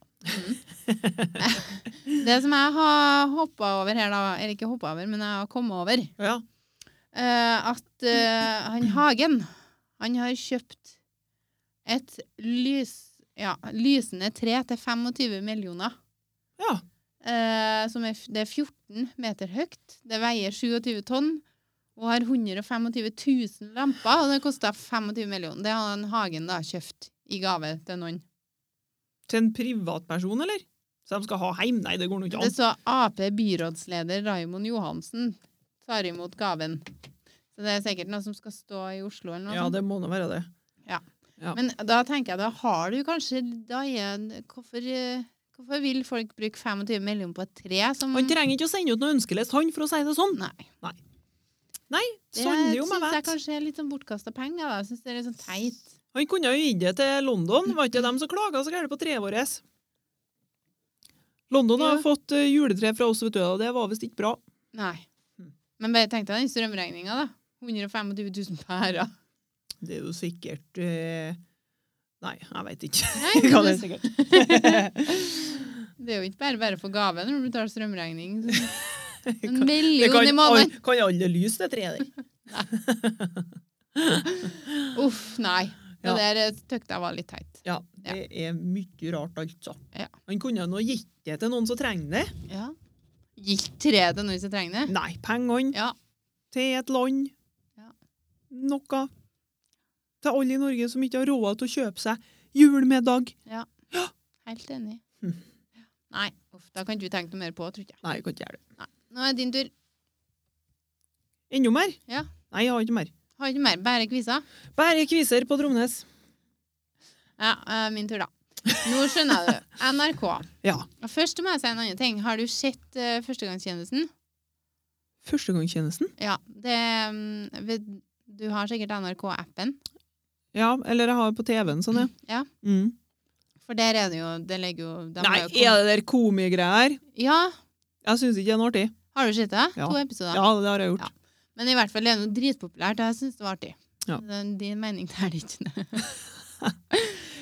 Det som jeg har hoppa over her, da, eller ikke hoppa over, men jeg har kommet over,
Ja.
eh, at eh, han Hagen, han har kjøpt et lys... ja, lysende tre til 25 millioner.
Ja.
Eh, som er, f- det er 14 meter høyt. Det veier 27 tonn og har 125 000 lamper. Og det kosta 25 millioner. Det har han Hagen da kjøpt i gave til noen.
Til en privatperson, eller? Så de skal ha heim? Nei, det går nå ikke
Det
an.
så Ap-byrådsleder Raimond Johansen tar imot gaven. Så det er sikkert noe som skal stå i Oslo eller noe
Ja,
sånt.
det må nå være det. ja.
Men da tenker jeg, da har du kanskje da er, hvorfor, eh, hvorfor vil folk bruke 25 millioner på et tre som
Han trenger ikke å sende ut noe ønskelist, han, for å si det sånn.
Mm. Nei. Det
Sånn jo,
syns
jeg
jeg
vet.
kanskje er litt sånn bortkasta penger. da. Jeg syns det er litt sånn teit.
Han kunne jo gitt det til London. Var ikke dem som klaga så gærent på treet vårt? London har
Ja.
fått eh, juletre fra oss, vet du, og det var visst ikke bra.
Nei.
Mm.
Men bare tenk deg den strømregninga, da. 125 000 pærer.
Det er jo sikkert eh, Nei, jeg veit ikke.
Nei,
Hva det er
det,
sikkert.
det er jo ikke bare bare for gave når du betaler strømregning.
Det
En
kan- det
million i
kan,
måneden!
al- kan alle lyse, det treet der.
Uff, nei. Det
Ja.
der eh, tøkte jeg var litt teit.
Ja, det er mye rart, altså.
Ja.
Han kunne nå gitt det til noen som trenger det.
Ja. Gikk treet til noen som trenger det?
Nei, pengene
Ja.
til et land.
Ja.
Noe. Til alle i Norge som ikke har råd til å kjøpe seg julemiddag.
Helt enig.
Mm.
Ja. Nei, uff, da kan du tenke noe mer på, tror ikke jeg.
Nei, jeg kan ikke gjøre det.
Nå er det din tur.
Enda mer?
Ja.
Nei, jeg har ikke mer.
Har ikke mer, bare kviser.
Bare kviser på Tromnes.
Ja, eh, min tur, da. Nå skjønner du. NRK.
Ja.
Og Først må jeg si en annen ting. Har du sett eh, Førstegangstjenesten?
Førstegangstjenesten?
Ja. Det, mm, ved- du har sikkert NRK-appen.
Ja, eller jeg har på TV-en, sånn, ja.
Ja.
Mm.
For der er det jo Det ligger jo de
Nei,
har jo
er det der komigreier?
kom- Ja.
Jeg syns ikke det er noe artig.
Har du sett det?
Ja.
To episoder.
Ja, det har jeg gjort.
Ja. Men i hvert fall det er noe dritpopulært, og jeg syns det var artig.
Ja.
Men Din mening det er det ikke.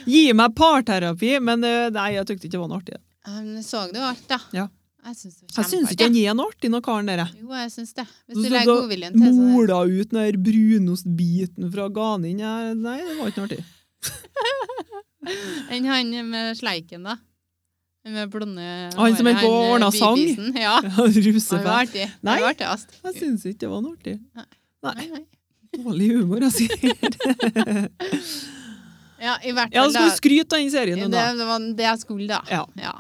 Gi meg parterapi, men eh, nei, jeg tykte ikke det var noe artig.
Um, så du alt, da?
Ja.
Jeg syns det var
Jeg syns
kjempeartig.
ikke han er noe artig, noen karen der. jeg.
Jo, jeg syns det. Hvis
Så-
du
så
legger
da
godviljen til, så er det
Mola ut den der brunostbiten fra ganen. jeg- Nei, det var ikke noe artig.
Enn han med sleiken, da. Han Med blonde
Han som holdt på å
han, eh,
ordne sang?
bipisen. Ja. Han var
Rusefett.
artig.
Nei.
Han var artigast.
Jeg syns ikke det var noe artig.
Nei, nei.
Dårlig humor, jeg sier.
Ja, i hvert
Ja,
fall,
skal
da.
du skryte av den serien nå,
Det,
da?
det var det jeg skulle, da.
Ja.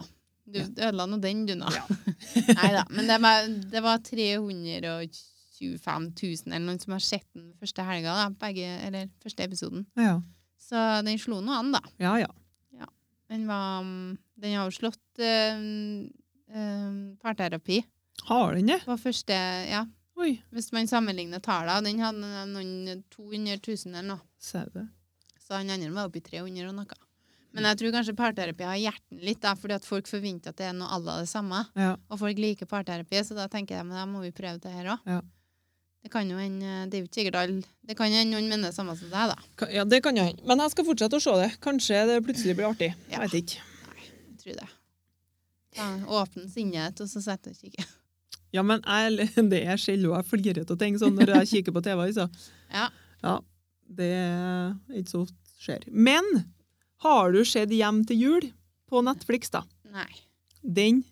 Du ødela nå den, du, nå. nei da. Men det var, det var 325 000 eller noen som har sett den første helga, da. Begge, eller første episoden.
Ja,
Så den slo nå an, da.
ja. ja.
Den var mm, Den har jo slått eh, eh, parterapi
Har den det?
på første Ja,
Oi,
hvis man sammenligner tallene. Den hadde noen 200 000 eller noe.
sau det.
Så han andre var oppi 300 og noe. Men jeg tror kanskje parterapi har hjerten litt, da, fordi at folk forventer at det er noe à la det samme.
Ja.
Og folk liker parterapi, så da tenker jeg men da må vi prøve det her òg.
Ja.
Det kan jo hende Det er jo ikke sikkert alle Det kan hende noen mener det samme som deg, da.
Ka- Ja, det kan jo hende. Men jeg skal fortsette å se det. Kanskje det plutselig blir artig.
Ja.
Jeg vet ikke.
Jeg tror det. Da Åpne sinnet, og så setter jeg og kikker.
Ja, men jeg, det er sjelden jeg flirer av ting sånn når jeg kikker på TV. Altså.
Ja.
ja. Det er ikke så ofte skjer. Men har du sett Hjem til jul på Netflix, da?
Nei.
Den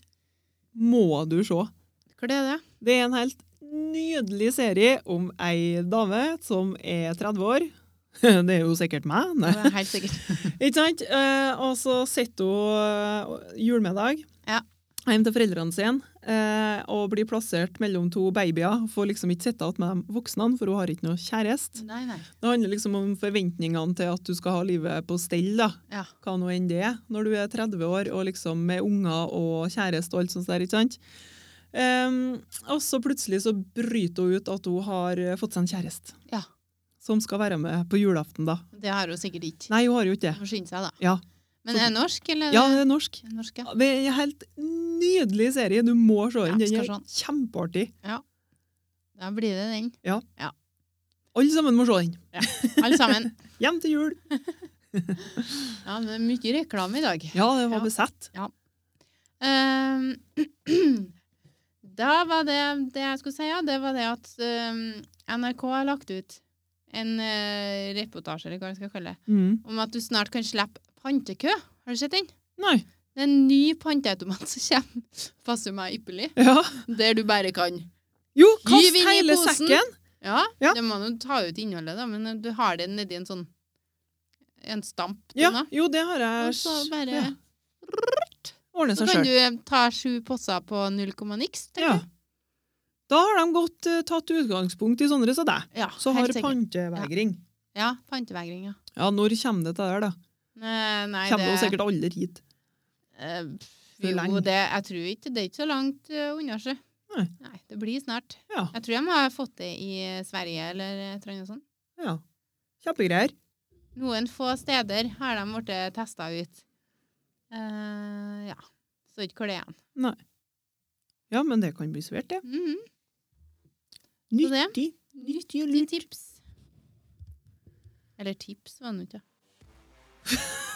må du se.
Hva er det?
Det er en helt nydelig serie om ei dame som er 30 år. Det er jo sikkert meg. Nei.
Det er helt sikkert.
Ikke sant? Eh, og så sitter hun eh, julemiddag
Ja.
hjemme til foreldrene sine eh, og blir plassert mellom to babyer. Får liksom ikke sitte igjen med de voksne, for hun har ikke noe kjæreste.
Nei, nei.
Det handler liksom om forventningene til at du skal ha livet på stell, da.
Ja.
hva nå enn det er, når du er 30 år og liksom med unger og kjæreste og alt sånt der, ikke sant? Ehm, og så plutselig så bryter hun ut at hun har eh, fått seg en kjæreste.
Ja.
Som skal være med på julaften, da.
Det har hun sikkert ikke.
Nei, hun har jo ikke det.
Må skynde seg, da.
Ja.
Men eh, er det norsk, eller?
Ja, det er norsk.
Er det norsk, ja.
Det er en helt nydelig serie. Du må se den.
Ja,
Den
skal
er kjempeartig.
Da blir det den.
Alle sammen må se den.
Alle sammen.
Hjem til jul.
Ja, men det er mye reklame i dag.
Ja, det
Ja.
var besett.
Ehm, da var det det jeg skulle si, ja. Det var det at ehm, NRK har lagt ut en eh, reportasje, eller hva jeg skal kalle det,
Mm.
om at du snart kan slippe pantekø. Har du sett den?
Nei.
Det er en ny panteautomat som kommer. Passer meg ypperlig.
Ja.
Der du bare kan.
Jo,
Gyv
kast
inn i
hele
posen.
sekken.
Ja,
Ja.
det må jo ta ut innholdet, da, men du har det nedi en sånn en stamp. til
Ja,
nå.
jo, det har jeg
Og så bare
ja. ordnet
Så
seg
kan
sjøl.
du eh, ta sju posser på null komma niks. tenker
Ja.
jeg.
Da har de godt eh, tatt utgangspunkt i sånne som deg,
Ja,
som har
helt sikkert.
pantevegring.
Ja, pantevegring, ja.
Ja, når kommer det til det der, da?
Nei, Eh, nei
Kommer det jo
det
sikkert aldri hit.
eh,
For
Jo,
lenge.
det, jeg tror ikke det er ikke så langt eh, unna seg.
Nei.
det blir snart.
Ja.
Jeg tror de har fått det i eh, Sverige eller et eller annet sånt.
ja. Kjempegreier.
Noen få steder har de blitt testa ut. Eh, ja. Så ikke hvor det er hen.
Ja, men det kan bli svært, det.
Mhm. Så det?
Nyttig. Nyttig og
Litt
lurt.
tips. Eller tips, var det nå ikke.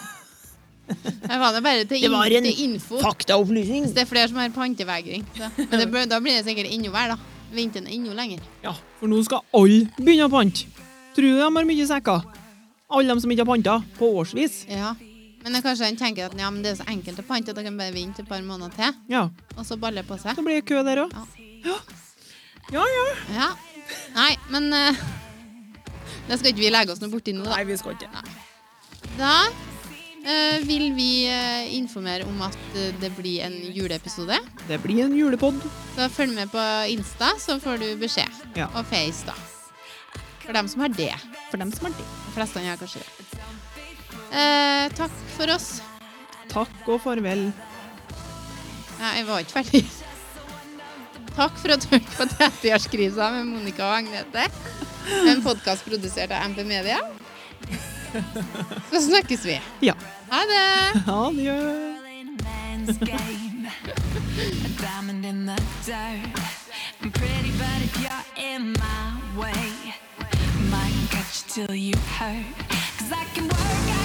Jeg var det bare til,
Det
in
var en
til info.
Faktaopplysning.
Hvis det er flere som har pantevegring. Så. Men det, blir- da blir det sikkert enda verre, da. Venter en enda lenger.
Ja, for nå skal alle begynne å pante. Tror du de har mye sekker? Alle de som ikke har panta på årsvis.
Ja. Men det er kanskje en tenker at ja, men det er så enkelt å pante at jeg kan bare vente et par måneder til,
Ja,
og så baller det på seg.
så blir det kø der òg. Ja. ja, ja.
Ja. Nei, men eh, det skal ikke vi legge oss noe borti nå, da.
Nei, vi skal ikke.
Da eh, vil vi eh, informere om at eh, det blir en juleepisode.
Det blir en julepod.
Så følg med på Insta, så får du beskjed.
Ja.
Og Face, da. For dem som har det.
For dem som har det.
De fleste har kanskje det. Eh, takk for oss.
Takk og farvel.
Nei, jeg var ikke ferdig. Takk for at du hørte på 30-årskrisa med Monica og Agnete. En podkast produsert av MP Media. Så snakkes vi.
Ja.
Ha det!
Adjø.
girl in a man's game. a diamond in the dirt. I'm pretty, but if you're in my way, might catch you till you hurt. Cause I can work out.